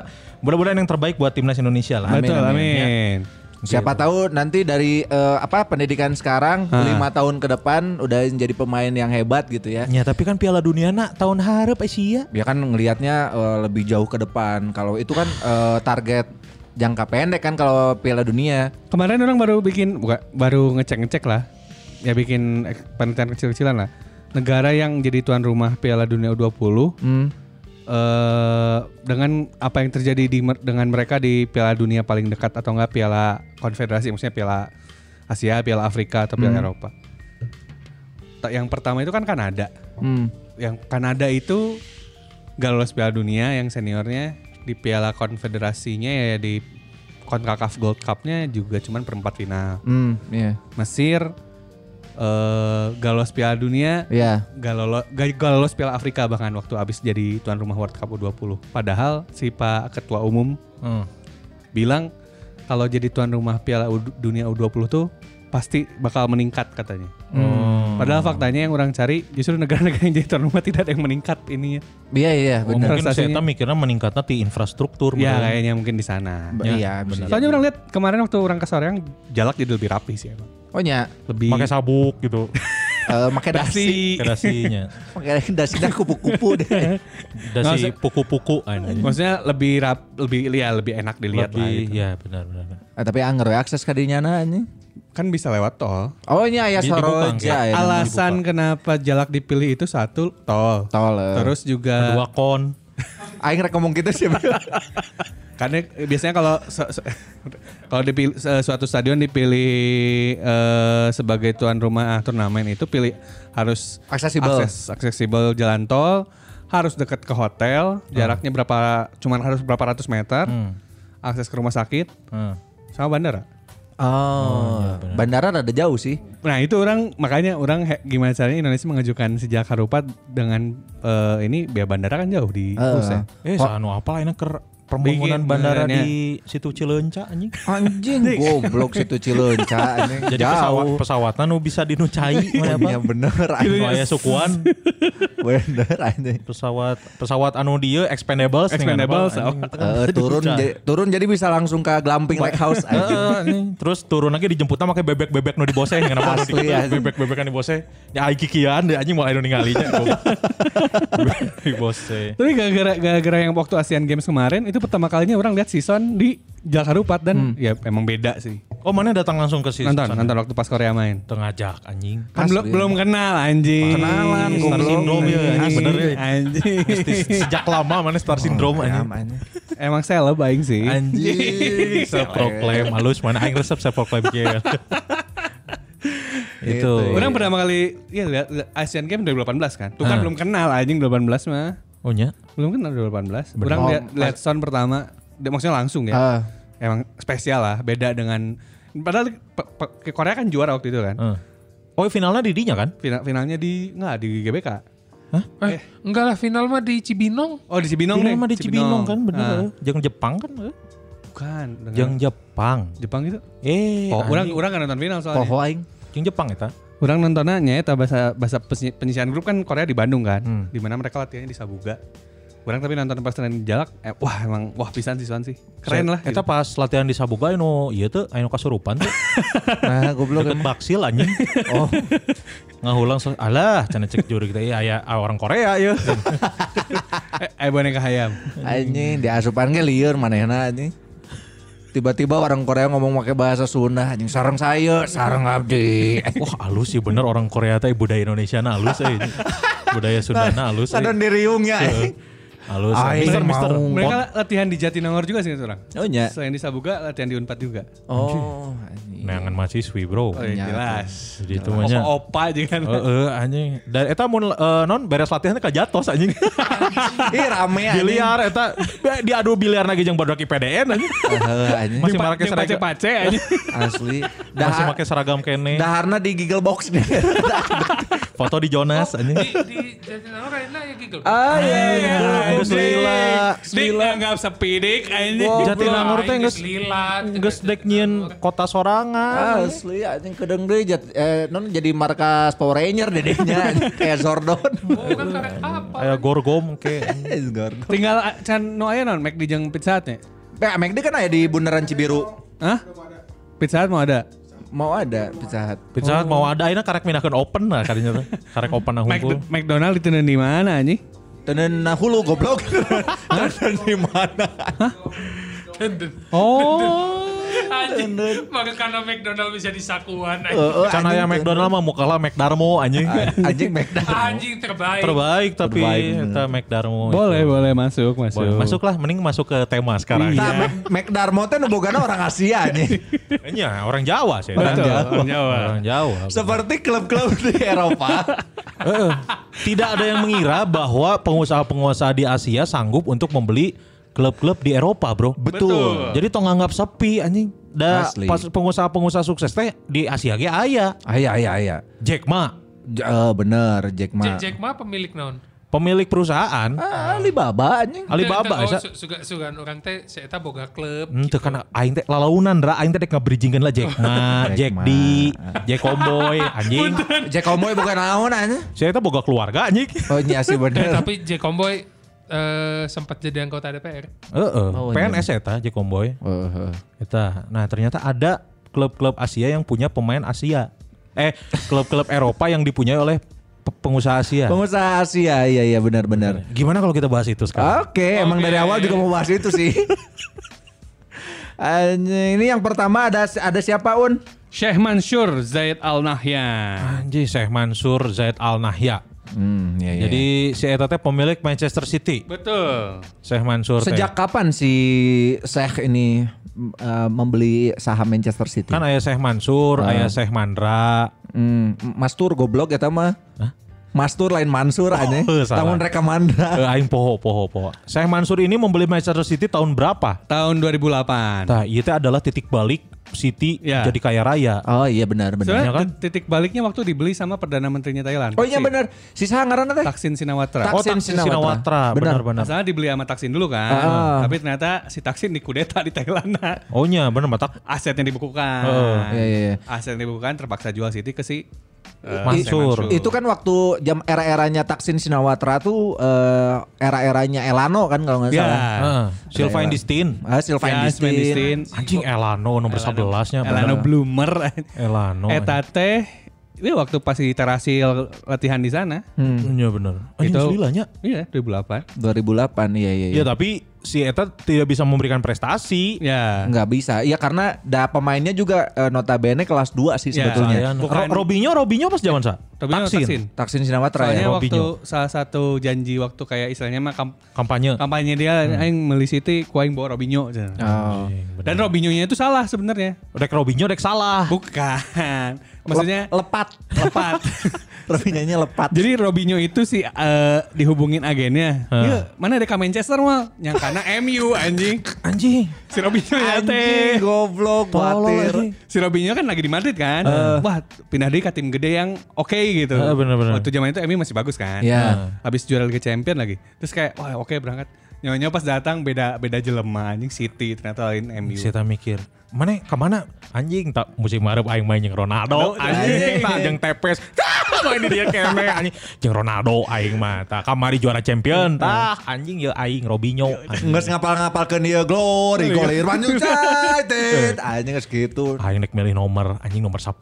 mudah-mudahan yang terbaik buat timnas Indonesia lah. Betul, amin, amin. Siapa tahu nanti dari eh, apa pendidikan sekarang lima tahun ke depan udah jadi pemain yang hebat gitu ya. Ya tapi kan Piala Dunia nak tahun harap eh, Asia. Dia kan ngelihatnya eh, lebih jauh ke depan. Kalau itu kan eh, target jangka pendek kan kalau Piala Dunia. Kemarin orang baru bikin buka- baru ngecek-ngecek lah. Ya bikin ek- penelitian kecil-kecilan lah. Negara yang jadi tuan rumah Piala Dunia U20 Hmm. eh dengan apa yang terjadi di mer- dengan mereka di Piala Dunia paling dekat atau enggak Piala Konfederasi maksudnya Piala Asia, Piala Afrika atau Piala Eropa. Ta- Yang pertama itu kan Kanada. Hmm. Yang Kanada itu gak lolos Piala Dunia yang seniornya di Piala Konfederasinya ya di CONCACAF Gold Cup-nya juga cuman perempat final. Hmm, iya. Mesir eh gak lolos Piala Dunia Iya. gak lolos, gak, gak lolos Piala Afrika bahkan waktu abis jadi tuan rumah World Cup U20. Padahal si Pak Ketua Umum bilang kalau jadi tuan rumah Piala U- Dunia U20 tuh pasti bakal meningkat katanya. Padahal faktanya yang orang cari justru negara-negara yang jadi tuan rumah tidak ada yang meningkat ininya. Iya iya Oh, benar. mungkin saya Prestasinya. mikirnya meningkatnya di infrastruktur. Ya bener. kayaknya mungkin di sana. Ya. Ba- Iya benar. Oh, Soalnya orang lihat kemarin waktu orang ke Soreang jalak jadi lebih rapi sih emang. Oh nya, Lebih Pakai sabuk gitu. eh, pakai dasi, dasi. Kedasinya. pakai dasinya kupu-kupu deh. Nggak Dasi usah. puku-puku anjing. Maksudnya lebih rap, lebih ya Iya. lebih enak dilihat lah. Lebih, gitu. ya benar-benar. Ah, tapi anger we akses ka dinya na anjing. Kan bisa lewat tol. Oh ini ayah Di- dibuka, Soroja ya? ya. Alasan kenapa jalak dipilih itu satu tol. Tol, eh. Terus juga Dua kon. Aing rek ngomong gitu sih. karena biasanya kalau se- se- kalau dipilih se- suatu stadion dipilih eh, sebagai tuan rumah ah, turnamen itu pilih harus Aksesibel. akses- aksesibel jalan tol, harus dekat ke hotel, jaraknya berapa cuman harus berapa ratus meter. Akses ke rumah sakit Hmm. sama bandara. Oh, bandara rada jauh sih. Nah itu orang makanya orang he- gimana caranya Indonesia mengajukan sejak Harupat dengan eh, ini biaya bandara kan jauh di Rusia. Eh, sanu apa ini ker pembangunan Bikin bandara benerannya. di situ Cileunca anjing. Anjing goblok situ Cileunca anjing. Jadi pesawat jauh. pesawatnya nu bisa dinucai mana apa? Iya bener Nu anjing. aya sukuan Bener anjing. pesawat pesawat anu dia expendable Expendable, so. Eh, turun jadi, turun jadi bisa langsung ke glamping lake house anjing. Eh. terus turun lagi dijemputnya pakai bebek-bebek nu dibose kenapa harus Asli, asli. bebek-bebek kan dibose ya ai kikian deh anjing mau anu ningalinya dibose Tapi gara-gara gara-gara yang waktu Asian Games kemarin itu pertama kalinya orang lihat season di Jakarta Hmm. dan ya emang beda sih. oh mana datang langsung ke sini Nonton, nonton waktu pas Korea main. tengajak anjing Kan belum belum kenal anjing. Kenalan, Star goblok. Syndrome ya anjing. Anjing, bener ya. Anjing. Mesti sejak lama mana star Oh, syndrome iya, anjing Namanya. emang seleb aing sih. Iya. anjing ya? self proclaim halus mana aing resep self proclaim gitu itu Orang pertama kali ya lihat lihat Asian Games 2018 kan. Tuh Ah. kan belum kenal anjing 2018 mah. oh nya Belum kan kenal 2018. Orang Oh, lihat lihat sound pertama dia- maksudnya langsung ya. Ah. Emang spesial lah, beda dengan padahal pe- pe- ke Korea kan juara waktu itu kan. Eh. oh finalnya di dinya kan Final, finalnya di nggak di GBK. Eh, enggak lah final mah di Cibinong. Oh di Cibinong Final deh. mah di Cibinong kan bener Ah, eh. Jeung Jepang kan eh. bukan. dengan Jeung Jepang Jepang gitu. eh Oh, orang anjing. orang kan nonton final soalnya. Poho aing. Jeung Jepang eta Orang nontonnya eta bahasa bahasa penyi- penyisian grup kan Korea di Bandung kan. Hmm. Di mana mereka latihannya di Sabuga. Orang tapi nonton pas di Jalak, eh, wah emang wah pisan sih soalnya sih. Keren lah. gitu. Eta pas latihan di Sabuga anu ieu teh anu kasurupan teh. Nah, goblok Deket baksil anjing. Oh. Ngahulang so, alah cenah cek juru kita ieu aya iya, ah, orang Korea ieu. Eh, eh, boneka hayam. Anjing diasupan ge lieur manehna anjing. Tiba-tiba orang Korea ngomong pakai bahasa Sunda anjing sarang saya, sarang abdi. Eh, Wah, alus sih bener orang Korea teh budaya Indonesia na alus euy. Budaya Sundana alus euy. Sadon diriung ya. eh. Alus. Aing Mister mister. mau. Mereka latihan di Jatinangor juga sih itu orang. Oh, nya. Selain di Sabuga latihan di Unpad juga. Oh, anjing. Neangan mahasiswi, Bro. Oh, ya, Nya. jelas. Jadi itu mah nya. Opa-opa juga kan. Heeh, anjing. Dan eta mun eh, non beres latihan teh kajatos anjing. Ih rame anjing. Biliar eta diadu biliar lagi jeung badak IPDN anjing. Heeh, Eh, anjing. Masih Yang make pace- seragam. pace aja. Asli. Masih Dahar, make seragam kene. daharna di Giggle Box nih. Foto di Jonas anjing. Di di Jatinangor ayeuna ya giggle. Ah, iya, iya. Aduh, selila. Dik nggak sepi dik anjing. Jatinangor teh Aing geus geus lilat. geus dek nyieun kota sorangan. Asli anjing kedeng deui jat- eh, non jadi markas Power Ranger dedenya anjing. kayak Zordon. Bukan karek Oh, kan apa? Aya gorgom ke. Eh, Zordon. Tinggal a- can no aya non McD jeung Pizza Hut nya. Nah, McD kan ada di Bundaran Cibiru. Hah? Pizza Hut mau ada. Mau ada Pizza Hut. Pizza Hut mau ada ayeuna karek mindahkeun open lah kadinya teh. Karek open nah Mac hunkul. McDonald ditenen di mana anjing? Tenen na hulu goblok. Tenen di mana? Oh. Anjing. Maka karena McDonald bisa disakuan. anjing. Heeh, Can aya anjing. McDonald mah mukalah McDarmo anjing. Anjing McDonald. Anjing terbaik. Terbaik tapi Terbaik, eta McDarmo. itu. Boleh, boleh masuk, masuk. Boleh. Masuklah mending masuk ke tema sekarang. Nah, Mac, McDarmo teh nu bogana orang Asia anjing. Iya, orang Jawa sih. Betul, orang Jawa. Orang Jawa. Seperti klub-klub di Eropa. Heeh. eh, Tidak ada yang mengira bahwa pengusaha-pengusaha di Asia sanggup untuk membeli klub-klub di Eropa, bro. Betul. Jadi tong nganggap sepi anjing. Da, Asli. pas pengusaha-pengusaha sukses teh di Asia ge aya. Ah, Aya aya aya. Jack Ma. J- iya, eh, bener Jack Ma. Jack- Jack Ma pemilik naon? pemilik perusahaan Ah, Alibaba anjing. Alibaba oh, sa- su- suga sugan orang teh si eta boga klub Hmm, teu kana aing teh lalaunan ra aing teh dek ngebridgingkeun lah Jack Ma, Jack Ma. D, Jack Cowboy anjing. Jack Omoy bukan naon anjing. Saya teh boga keluarga anjing. Oh iya sih Eh, bener. tapi J Komboy eh, sempat jadi anggota DPR Heeh, Oh, iya. PNS eta Jack Cowboy. Oh, oh. Eta. Nah, ternyata ada klub-klub Asia yang punya pemain Asia. Eh, klub-klub Eropa yang dipunyai oleh pe- pengusaha Asia. Pengusaha Asia, iya iya benar-benar. Gimana kalau kita bahas itu sekarang? Oke, emang dari awal juga mau bahas itu sih. Anjing, ini yang pertama ada ada siapa Un? Syekh Mansur Zaid Al Nahyan. Anjing Syekh Mansur Zaid Al Nahya. Hmm, iya, Jadi si eta teh pemilik Manchester City. Betul. Syekh Mansur teh. sejak kapan si Sheikh ini m- eh, membeli saham Manchester City? kan ayah Syekh Mansur, ayah Syekh Mandra. Hmm, Mastur goblok eta mah. Mastur lain Mansur anjing. eh, salah. Tahun rekamanda. Eh, aing poho poho poho. Syekh Mansur ini membeli Manchester City tahun berapa? Tahun 2008. Nah, itu adalah titik balik City Ya. jadi kaya raya. Oh iya benar benar. Sebenarnya kan? tit- titik baliknya waktu dibeli sama Perdana Menterinya Thailand. Oh iya Thaksin. benar. Eh, Si saha ngaranna teh? Taksin Sinawatra. Tak- oh, Thaksin Thaksin Shinawatra. Shinawatra. Benar. Benar, benar. Masalah dibeli sama Taksin dulu kan. Ah. Tapi ternyata si Taksin dikudeta di Thailand. nah. Oh iya, benar matak. Asetnya dibukukan. Oh, iya, iya, iya. Aset yang dibukukan terpaksa jual City ke si eh, Mansur. Syekh Itu kan waktu jam era-eranya Taksin Sinawatra tuh eh, era-eranya Elano kan kalau nggak Ya. salah. Heeh. Sylvain Distin. Ah, Sylvain Ya, Sylvain Distin. Distin. Anjing Elano nomor 11-nya. benar. Elano Bloomer. Elano. Eta teh ya waktu pas di terasil latihan di sana. Iya benar. Anjing Itu- selilanya. Iya, 2008. 2008 iya iya. iya. Ya tapi si Eta tidak bisa memberikan prestasi. Ya. nggak bisa. Iya karena da pemainnya juga eh, notabene kelas 2 sih Ya, sebetulnya. Sayang. Bukan. Bukan- Robinho, Robinho pas zaman sa? Robinho Taksin. Taksin Sinawatra Soalnya ya. waktu Robinho. salah satu janji waktu kayak istilahnya mah kamp- Kampanye. kampanye dia Hmm. aing meuli City ku aing bawa Robinho. Oh. Dan Robinho-nya itu salah sebenarnya. Dek Robinho, dek salah. Bukan. Maksudnya Lep- lepat. lepat. Robinhonya lepat. Jadi Robinho itu si eh, dihubungin agennya. Hah. Iya, mana ada ke Manchester mal? Yang karena MU anjing. Anjing. Si Robinho ya Anjing teh. goblok Tolol khawatir. anjing. Si Robinho kan lagi di Madrid kan. Wah, pindah deh ke tim gede yang oke gitu. Eh, bener-bener. Waktu zaman itu MU masih bagus kan. Iya. Habis juara Liga Champion lagi. Terus kayak wah oke berangkat. Nyonya pas datang beda beda jelema anjing City ternyata lain MU. Si Eta mikir, mana kemana? Anjing, tak musim Maret aing main jeung Ronaldo. Anjing, tak jeung Tepes. Tah, main di dia kene anjing. Jeung Ronaldo aing mah. Tah kamari juara champion. Tah, anjing ya aing Robinho. Hmm. Anjing. Nges ngapal-ngapalkeun ieu Iya. glory gol Irfan United. Anjing geus kitu. Aing nek milih nomor, anjing nomor 10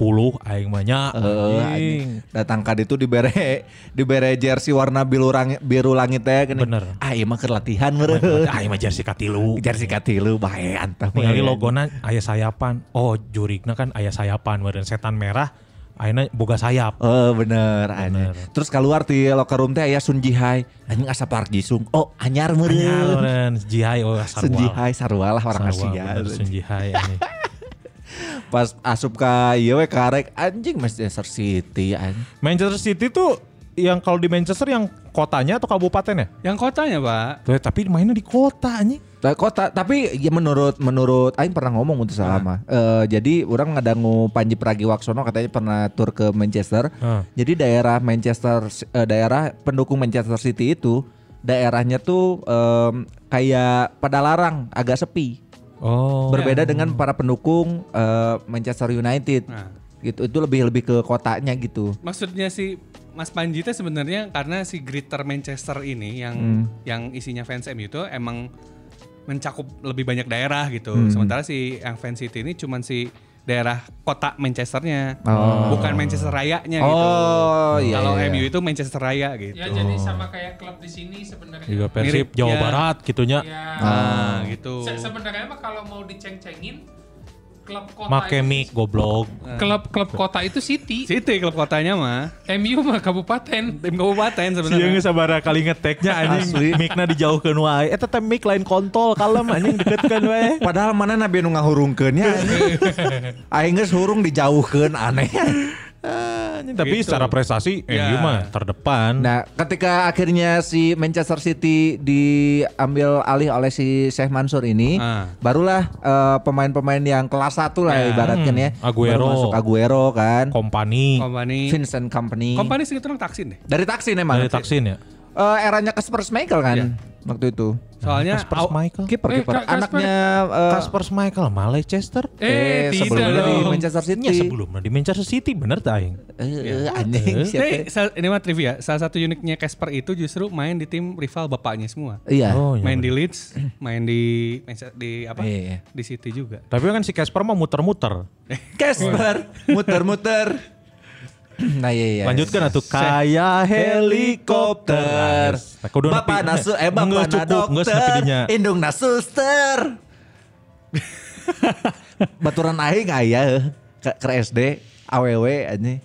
aing mah nya. Eh, Anjing. anjing. datang kad itu dibere dibere jersey warna biru langit biru langit teh gini. Bener. Ah ieu mah keur latihan meureun. Ah, Aing mah jersey katilu. Jersey katilu bae antah. we. Ningali logona ayah sayapan. Oh, jurigna kan ayah sayapan meureun setan merah. Aina boga sayap. Oh bener, anjing. Terus keluar di locker room teh aya Sun Ji Hai. Anjing asa Park Ji Sung. Oh anyar Anyar meureun. meureun Jihai oh Sun Ji Hai sarua lah orang Asia. Sunjihai anjing. Pas asup ka ieu we karek anjing Manchester City anjing. Manchester City tuh yang kalau di Manchester yang kotanya atau kabupatennya? Yang kotanya, Pak. Tuh, tapi mainnya di kota anjing. Ta- Kota, tapi ya menurut menurut Aing pernah ngomong untuk selama. Eh, jadi orang ngadangu Panji Pragiwaksono katanya pernah tur ke Manchester. Hah. Jadi daerah Manchester eh, daerah pendukung Manchester City itu daerahnya tuh em, kayak pada larang agak sepi. Oh. Berbeda dengan para pendukung eh, Manchester United. Nah. Gitu itu lebih lebih ke kotanya gitu. Maksudnya si Mas Panji teh sebenarnya karena si Greater Manchester ini yang Hmm. yang isinya fans MU itu emang mencakup lebih banyak daerah gitu. Hmm. Sementara si yang fans City ini cuman si daerah kota Manchesternya, bukan Manchester rayanya gitu. Oh, iya, Kalau iya, iya. MU itu Manchester raya gitu. ya jadi sama kayak klub di sini sebenarnya Juga Ah. Iya, Mirip, Persib Jawa ya. Barat gitunya. ya Nah, gitu. Se- sebenarnya mah kalau mau diceng-cengin klub kota Make itu- mic goblok. klub klub kota itu city City klub kotanya mah MU mah kabupaten tim kabupaten Dia sebenarnya. nggak sabar kali ngeteknya Asli. anjing mikna dijauhkan wae. Eta teh Eh, mic lain kontol kalem anjing deketkan wae. Padahal mana nabi nu ngahurungkeun nya anjing. Aing geus hurung dijauhkeun aneh. Ah, Anjing, tapi Gitu. secara prestasi Ya. MU Iya. mah terdepan. Nah, ketika akhirnya si Manchester City diambil alih oleh si Sheikh Mansur ini, Ah. barulah eh, pemain-pemain yang kelas satu lah ibaratkan ya. Hmm, Aguero. Baru masuk Aguero kan, Kompani Company. Vincent Company. Company segitu orang taksin deh. Dari Taksin emang. dari Taksin ya. eh, eranya Kasper Schmeichel kan Iya. waktu itu. Soalnya Kasper aw- Schmeichel. Kiper Eh, kiper Ka- Kasper- anaknya eh, Kasper Schmeichel malah Leicester. Eh, tidak sebelumnya di dong. Manchester City. Ya sebelumnya di Manchester City bener tak aing? Eh, eh, anjing siapa? Ini, sal- ini mah trivia. Salah satu uniknya Casper itu justru main di tim rival bapaknya semua. Iya. Oh, iya Main di bener. Leeds, main di Manchester- di apa? Iya, iya. Di City juga. Tapi kan si Casper mah muter-muter. Casper muter-muter. Nah iya iya. Lanjutkan atuh kayak helikopter. Nah, kudu Bapak nepi. nasu eh bapak Nggak na cukup, nggak senepi dokter, dinya. indung na suster. Baturan aing aya heuh, ke, ke SD AWW anjing.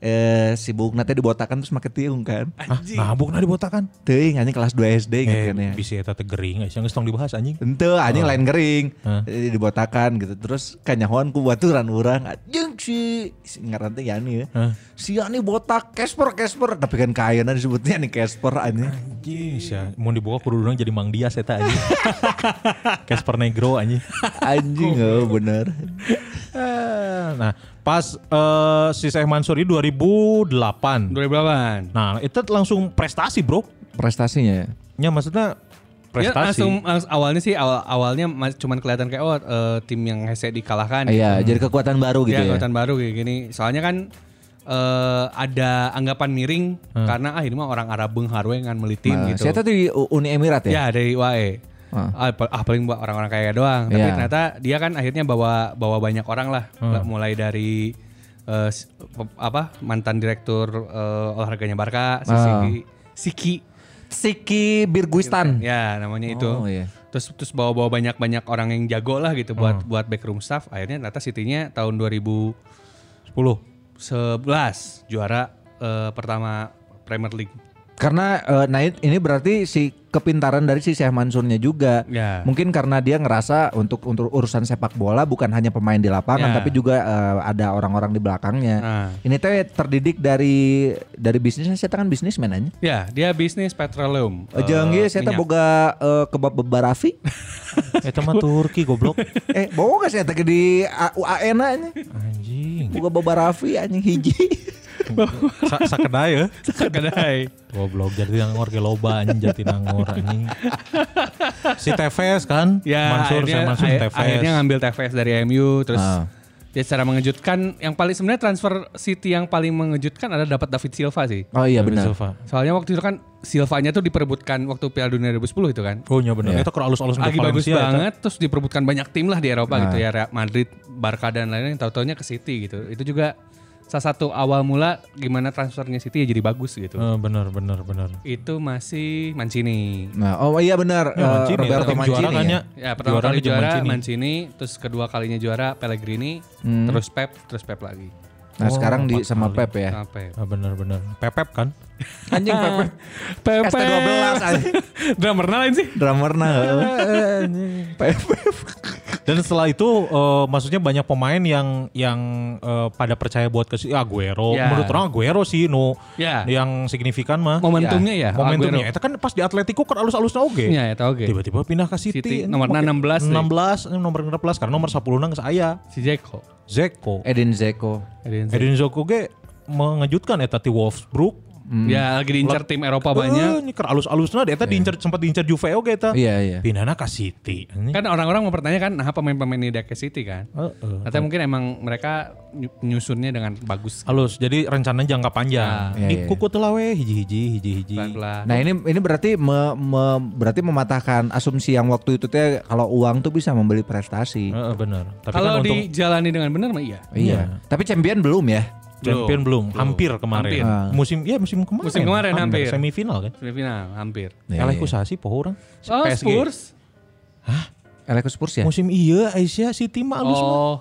Eh si Bukna teh dibotakan terus make tiung kan. Hah, Mabuk nah dibotakan. Teuing anjing kelas 2 SD gitu Eh, kan ya. bisa eta teh gering, geus tong dibahas anjing. Ente anjing lain kering, Hah. Jadi dibotakan gitu. Terus kanyahoan ku baturan urang, anjing si si ngaran teh Yani ya. Hah. Si Yani botak Casper Casper, tapi kan kayana disebutnya nih Casper anjing. Anjing, sia. mau dibuka kudu urang jadi Mang Dias eta anjing. Casper Negro anjing. Anjing oh, bener. Eh, Nah, pas eh, si Syekh Mansur ini 2008. 2008. Nah, itu langsung prestasi, Bro. Prestasinya ya. Ya maksudnya Ya, prestasi. langsung, langs- awalnya sih awal awalnya mas- cuman kelihatan kayak oh eh, tim yang hese dikalahkan. Iya, jadi kekuatan baru gitu ya. Iya, angkatan baru kayak gini. Soalnya kan eh, ada anggapan miring karena ah ini mah orang Arabeng harwengan melitin Hmm. Nah, gitu. Saya tuh di U- Uni Emirat ya. Ya dari UAE. Ah, pa- ah, paling buat orang-orang kaya doang. Tapi Ya. ternyata dia kan akhirnya bawa bawa banyak orang lah. Hmm. Mulai dari eh, s- pe- apa mantan direktur eh, olahraganya Barca, si Ah. Siki, Siki. Siki Birguistan. Ya namanya itu. Oh, iya. Terus terus bawa-bawa banyak-banyak orang yang jago lah gitu Hmm. buat buat backroom staff. Akhirnya ternyata City-nya tahun 2010 11 juara eh, pertama Premier League. Karena eh, nah ini berarti si kepintaran dari si Syekh Mansurnya juga. Ya. Mungkin karena dia ngerasa untuk untuk urusan sepak bola bukan hanya pemain di lapangan Ya. tapi juga eh, ada orang-orang di belakangnya. Ah. Ini teh terdidik dari dari bisnisnya saya kan bisnismen aja. Ya, dia bisnis petroleum. Eh, Jeung ieu saya teh minyak. boga eh, kebab bebarafi. Eta mah Turki goblok. eh, boga saya teh di UAN nya. Anjing. Boga bebarafi anjing hiji. Sa sakedai ya. Kedai. Goblok Jatinangor ge loba anjing Jatinangor anjing. Si Tevez kan? Ya, Mansur akhirnya, saya Mansur akhir- Tevez. Iya, akhirnya ngambil TVS dari MU terus Ah. ya secara mengejutkan yang paling sebenarnya transfer City yang paling mengejutkan ada dapat David Silva sih. Oh iya David benar. Silva. Soalnya waktu itu kan Silvanya tuh diperebutkan waktu Piala Dunia 2010 itu kan. Oh iya benar. Itu Ah. kalau alus-alus Lagi ke bagus Valencia, eta. banget terus diperebutkan banyak tim lah di Eropa gitu ya Real Madrid, Barca dan lain-lain tahu-taunya ke City gitu. Itu juga salah satu awal mula gimana transfernya City ya jadi bagus gitu. Eh, bener bener bener. Itu masih Mancini. Nah, oh iya benar. eh, Mancini, Roberto tim Mancini. juara kan ya? ya. Ya pertama Juara kali di zaman juara Mancini. Mancini. terus kedua kalinya juara Pellegrini, Hmm. terus Pep, terus Pep lagi. Nah, Oh, sekarang di empat sama kali. Pep ya. Nah, Pep. Ah, bener bener. Pepep kan? Anjing Pep. Pep. ST12 anjing. Drummer lain sih. Drummerna. heeh. Eh, Pep. Dan setelah itu eh, maksudnya banyak pemain yang yang eh, pada percaya buat ke si Aguero. Ya. Menurut orang Aguero sih no Ya. yang signifikan mah. Momentumnya ya, Momentumnya. Aguero. Itu kan pas di Atletico kan alus-alusnya oke. Ya, ya tau oke. Tiba-tiba pindah ke City. City, Ini nomorna make- 16 deh. 16, ini nomor 16 karena nomor 10 nang saya. Si Jeko. Zeko. Edin Zeko. Edin Dzeko. Edin Zeko ge mengejutkan eta ti Wolfsburg. Hmm. Ya lagi diincar tim Eropa banyak. Iya. Eh, alus-alusna eta diincar sempat diincar Juve oge eta. Iya, iya. Pindahna ke City. Ini- Kan orang-orang mempertanyakan, nah pemain-pemain ini dari City kan? Heeh. Atau mungkin emang mereka nyu- nyusunnya dengan bagus Halus, jadi rencana jangka panjang. Iya, Di iya. kuku telah we, hiji-hiji, hiji-hiji. Ah, pelan-pelan. Nah, ini ini berarti me- me- berarti mematahkan asumsi yang waktu itu teh kalau uang tuh bisa membeli prestasi. Heeh, bener. Tapi kan Kalau untung dijalani dengan benar mah iya. Iya. Tapi champion belum ya? champion belum, hampir kemarin. Hampir. Ah. Musim, ya musim kemarin. Musim kemarin, hampir. Semifinal kan. Semifinal hampir. Ya, Kalah ku sasi poho urang. Oh, PSG. Spurs. Alex Spurs ya? Musim iya Aisyah City mah alus. mah. Oh.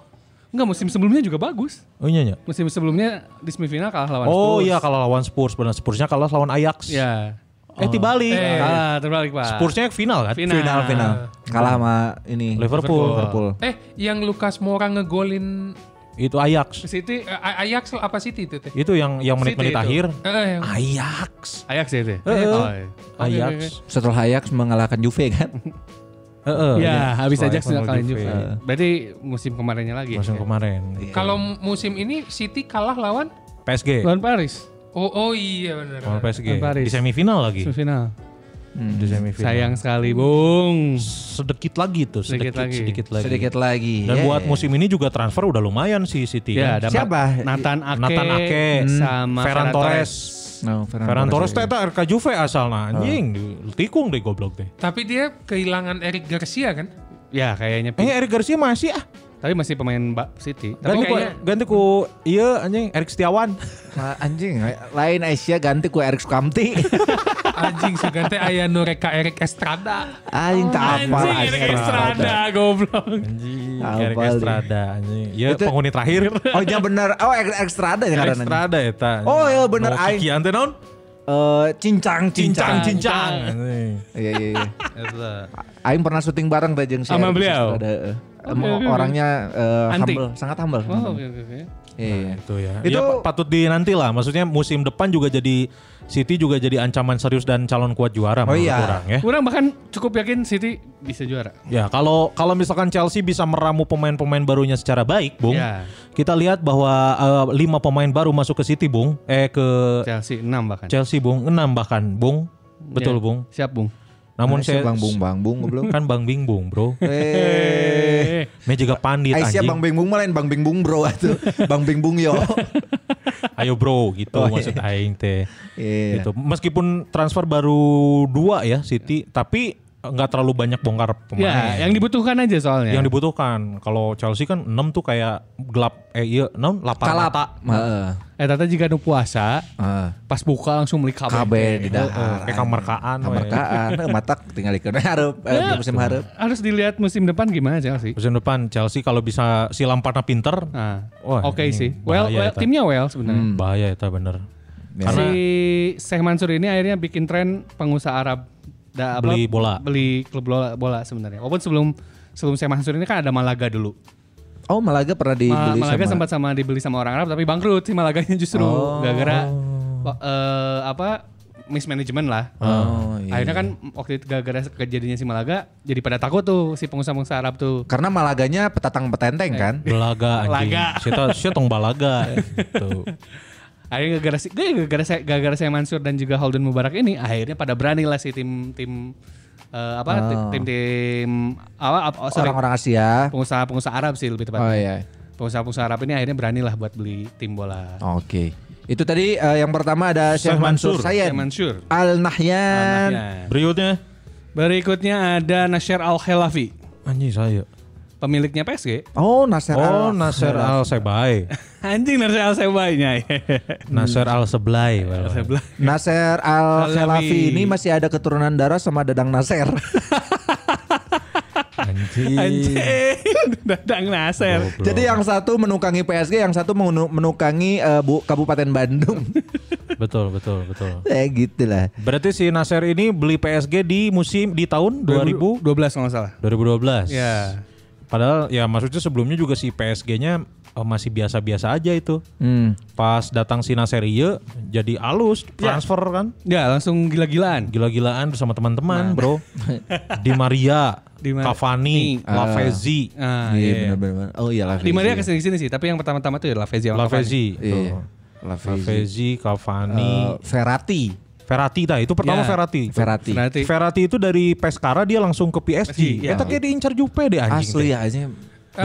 Enggak musim sebelumnya juga bagus. Oh iya, iya. Musim sebelumnya di semifinal kalah lawan Oh Spurs. iya kalau lawan Spurs benar Spursnya kalah lawan Ajax. Ya. Eh dibalik. Eh, Kalah. kalah terbalik Pak. Spursnya final kan? Final. Final final. Kalah sama ini Liverpool. Liverpool. Eh, yang Lukas Mora ngegolin Itu Ajax. City, eh, A- Ajax apa City itu teh? Itu yang yang menit-menit City itu. akhir. Eh, Ah, yang- Ajax. Ajax ya itu. Heeh. Oh, iya. Ajax. Setelah Ajax mengalahkan Juve kan? Heeh. ya, habis Setelah Ajax Evan sudah kalian iya. Juve. Juve. Berarti musim kemarinnya lagi. Musim Ya. kemarin. Kalau musim ini City kalah lawan PSG. Lawan Paris. Oh, oh iya benar. Lawan PSG. Lawan Paris. Di semifinal lagi. Semifinal. Di Iya. semifinal. Iya. Sayang sekali, Bung. sedikit lagi tuh, sedikit Sedikit lagi. sedikit lagi. Sedikit lagi. Dan ya, buat ya. musim ini juga transfer udah lumayan sih City. Ya, kan. dapat Siapa? Nathan Ake, Nathan Ake, Hmm. sama Ferran Torres. No, Ferran, Oh. Ferran Torres juga. teh eta RK Juve asalna anjing, di- tikung deh goblok teh. Tapi dia kehilangan Eric Garcia kan? Ya, kayaknya. Ini Eh, Eric Garcia masih ah. Tapi masih pemain Mbak City. Tapi Ganti ku, kayaknya ganti ku iya anjing Eric Setiawan. Ma- anjing, lain Asia ganti ku Erik Sukamti. Anjing sugan teh aya nu reka Eric Estrada. anjing Oh, tak apa Anjing Eric Estrada goblok. Anjing, Apal Eric deh. Estrada anjing. Ya Itu- penghuni terakhir. Oh, iya bener. Oh, Erik Estrada ya Eric karena. Estrada eta. Oh, iya, bener, No, aing. kikian teh naon? Eh, cincang, cincang. cincang. Anjing. Iya, iya, iya. Aing pernah syuting bareng teh jeung si Sama Erik beliau? Estrada, eh. Emang orangnya eh, Antik. humble, sangat humble. Hmm. sangat Oh, humble. oke oke oke. Iya, iya. Itu ya. Itu- Ya, pa- patut dinanti lah. Maksudnya musim depan juga jadi City juga jadi ancaman serius dan calon kuat juara Oh menurut iya. orang ya. Kurang bahkan cukup yakin City bisa juara. Ya kalau kalau misalkan Chelsea bisa meramu pemain-pemain barunya secara baik, Bung. Ya. Kita lihat bahwa eh, lima pemain baru masuk ke City, Bung. Eh ke Chelsea 6 bahkan. Kan. Chelsea, Bung. Enam bahkan, Bung. Iya. Betul, Ya. Bung. Siap, Bung. Namun Aisyah saya Bang Bung Bang Bung belum. kan Bang Bingbung, Bro. Eh, Ini juga Iya, pandit Aisyah anjing. Bang Bing Bung mah lain Bang Bing Bung bro atuh. Bang Bing Bung yo. Ayo, Bro, gitu Oh, iya. maksud aing teh. Iya. Gitu. Meskipun transfer baru dua ya City, tapi nggak terlalu banyak bongkar pemain. Iya. Ya, yang dibutuhkan aja soalnya. yang dibutuhkan. Kalau Chelsea kan 6 tuh kayak gelap eh iya 6 lapar Kalap. mata. Heeh. eh tata jika nu puasa, Heeh. pas buka langsung beli kabel. Kabeh di Heeh, Eh, dahar. Eh, Kayak kamarkaan. we. Ah, Kamarkaan, eh, matak tinggal ikut harap eh, Iya. di musim harap. Ya, Harus dilihat musim depan gimana Chelsea. Musim depan Chelsea kalau bisa si Lampardnya pinter. Nah, Wah, oke ini sih. bahaya Well, well itu. timnya well Hmm. sebenarnya. Bahaya itu bener. Ya. Si Karena Syekh Mansur ini akhirnya bikin tren pengusaha Arab da, apa, Beli bola. Beli klub bola, bola sebenarnya. Walaupun sebelum sebelum Syekh Mansur ini kan ada Malaga dulu. Oh Malaga pernah Ma- dibeli Malaga sama. sempat sama dibeli sama orang Arab tapi bangkrut si Malaganya justru Oh. gara-gara wa- eh, apa mismanagement lah. Oh, iya. Akhirnya kan waktu itu gara-gara kejadiannya si Malaga jadi pada takut tuh si pengusaha-pengusaha Arab tuh. Karena Malaganya petatang petenteng Eh, kan. iya. belaga anjing. Laga. Kita saya tong balaga gitu. Akhirnya gara-gara si gara-gara saya gara-gara saya Mansur dan juga Holden Mubarak ini akhirnya pada berani lah si tim tim eh, apa tim tim apa apa- Oh, Oh. sorry, Orang-orang Asia. pengusaha-pengusaha Arab sih lebih Oh tepatnya. iya. Pengusaha-pengusaha Arab ini akhirnya berani lah buat beli tim Oh, bola. Oke. Itu tadi eh, yang pertama ada Syekh Syekh Mansur Mansur. Sayen. Syekh Mansur. Al Nahyan. Nah, Berikutnya Berikutnya ada Nasir Al Khelafi, anjing saya. pemiliknya PSG. Oh Nasir Al. Oh Nasser Al Sebai. Anjing Nasir Al Sebainya. Iya. Nasser Al Seblai. Nasir Al Al-Khelafi. Khelafi ini masih ada keturunan darah sama Dadang Nasir. Iya. Anjing. Anjing, dadang Nasir. Goblok. Jadi yang satu menukangi PSG, yang satu menu- menukangi eh, Bu- Kabupaten Bandung. betul betul betul. Kayak gitu lah. Berarti si Nasser ini beli PSG di musim di tahun 2000 2012 kalau nggak salah. 2012. Ya. Padahal ya maksudnya sebelumnya juga si PSG-nya eh, masih biasa-biasa aja itu. Pas datang si Nasser Iye, jadi alus transfer kan. Ya langsung gila-gilaan. Gila-gilaan bersama Nah, teman-teman, Bro. Di Maria, Di Maria. eh, Cavani, Lavezzi, Ah, iya benar-benar. Oh iya Lavezzi. Di Maria ke sini sih, tapi yang pertama-tama tuh ya Lavezzi. sama Lavezzi. tuh. Iya. Lavezzi. Lavezzi, Cavani, Eh, Ferrati. Verratti tah, itu pertama Ya. Verratti. Ferrati. Cavani. Berarti Verratti itu dari Pescara dia langsung ke PSG. PSG, ya. Eta kayak diincar Juve deh anjing. iya. Asli teh. ya aja.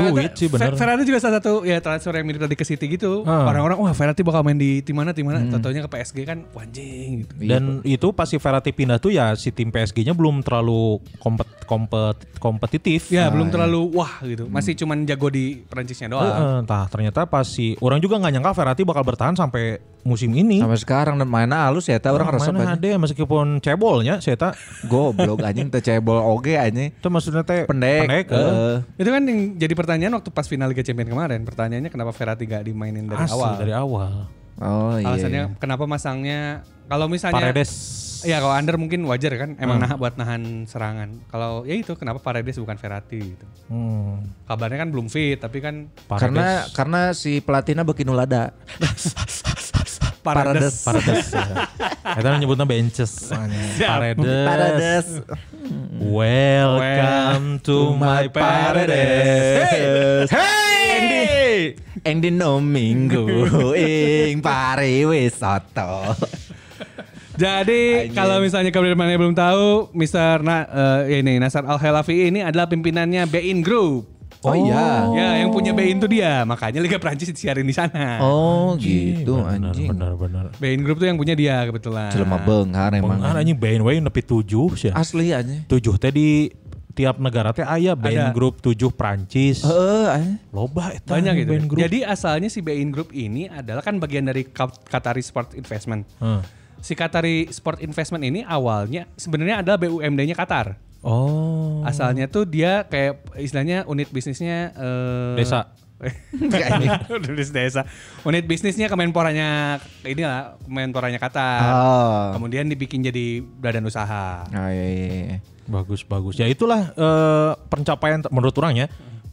Duit sih bener. Ah. Ah, Fer- Ferrati juga salah satu ya transfer yang mirip tadi ke City gitu. Orang-orang wah Ferrati bakal main di tim mana tim Hmm. mana. Tentunya ke PSG kan wanjing gitu. Dan itu pas si Verratti pindah tuh ya si tim PSG-nya belum terlalu kompet, kompet, kompetitif. Iya. Ya belum terlalu wah gitu. Masih cuman jago di Perancisnya doang. iya. Hmm. Heeh, entah ternyata pas si orang juga nggak nyangka Verratti bakal bertahan sampai musim ini. Sampai sekarang dan mainnya halus ya, tau orang resep aja. mana ada meskipun cebolnya saya tak Goblok anjing teu cebol oge anjing. itu maksudnya teh Pendek. eh. eh. Itu kan yang jadi pertanyaan waktu pas final Liga Champions kemarin. Pertanyaannya kenapa Verratti gak dimainin dari Asli, awal? dari awal. Oh iya. Alasannya kenapa masangnya kalau misalnya Paredes. Ya kalau under mungkin wajar kan emang Hmm. nah buat nahan serangan. Kalau ya itu kenapa Paredes bukan Verratti gitu. Hmm, Kabarnya kan belum fit tapi kan Paredes. Karena karena si pelatihnya beki nulada. Paredes. Paredes. ya. Kita nyebutnya benches. Paredes. Paredes. Welcome to my paradise. Hey! Eng dino minggu ing pariwisata. Jadi Anjing. kalau misalnya kabar mana belum tahu, Mr. Na, eh, ini Nasar Al Khelafi ini adalah pimpinannya Bein Group. Oh iya. Ya, yang punya Bein itu dia. Makanya Liga Prancis disiarin di sana. Oh gitu anjing. Benar-benar. Bein Group tuh yang punya dia kebetulan. Jelema Nah, benghar emang. Bengar anjing Bain Way nepi tujuh sih. ya. Asli aja. Tujuh teh di tiap negara teh aya Ada. Bain Group tujuh Prancis. Heeh, anjing. Loba eta Banyak gitu. Bain Group. Jadi asalnya si Bein Group ini adalah kan bagian dari Kat- Qatari Sport Investment. Hmm. Si Qatari Sport Investment ini awalnya sebenarnya adalah BUMD-nya Qatar. Hmm. Oh. Asalnya tuh dia kayak istilahnya unit bisnisnya eh, Desa. Unit desa. Unit bisnisnya kemenporanya inilah kemenporanya Qatar. Oh. Kemudian dibikin jadi badan usaha. Oh iya iya. iya. Bagus bagus. Ya itulah eh, pencapaian ter- menurut orang ya.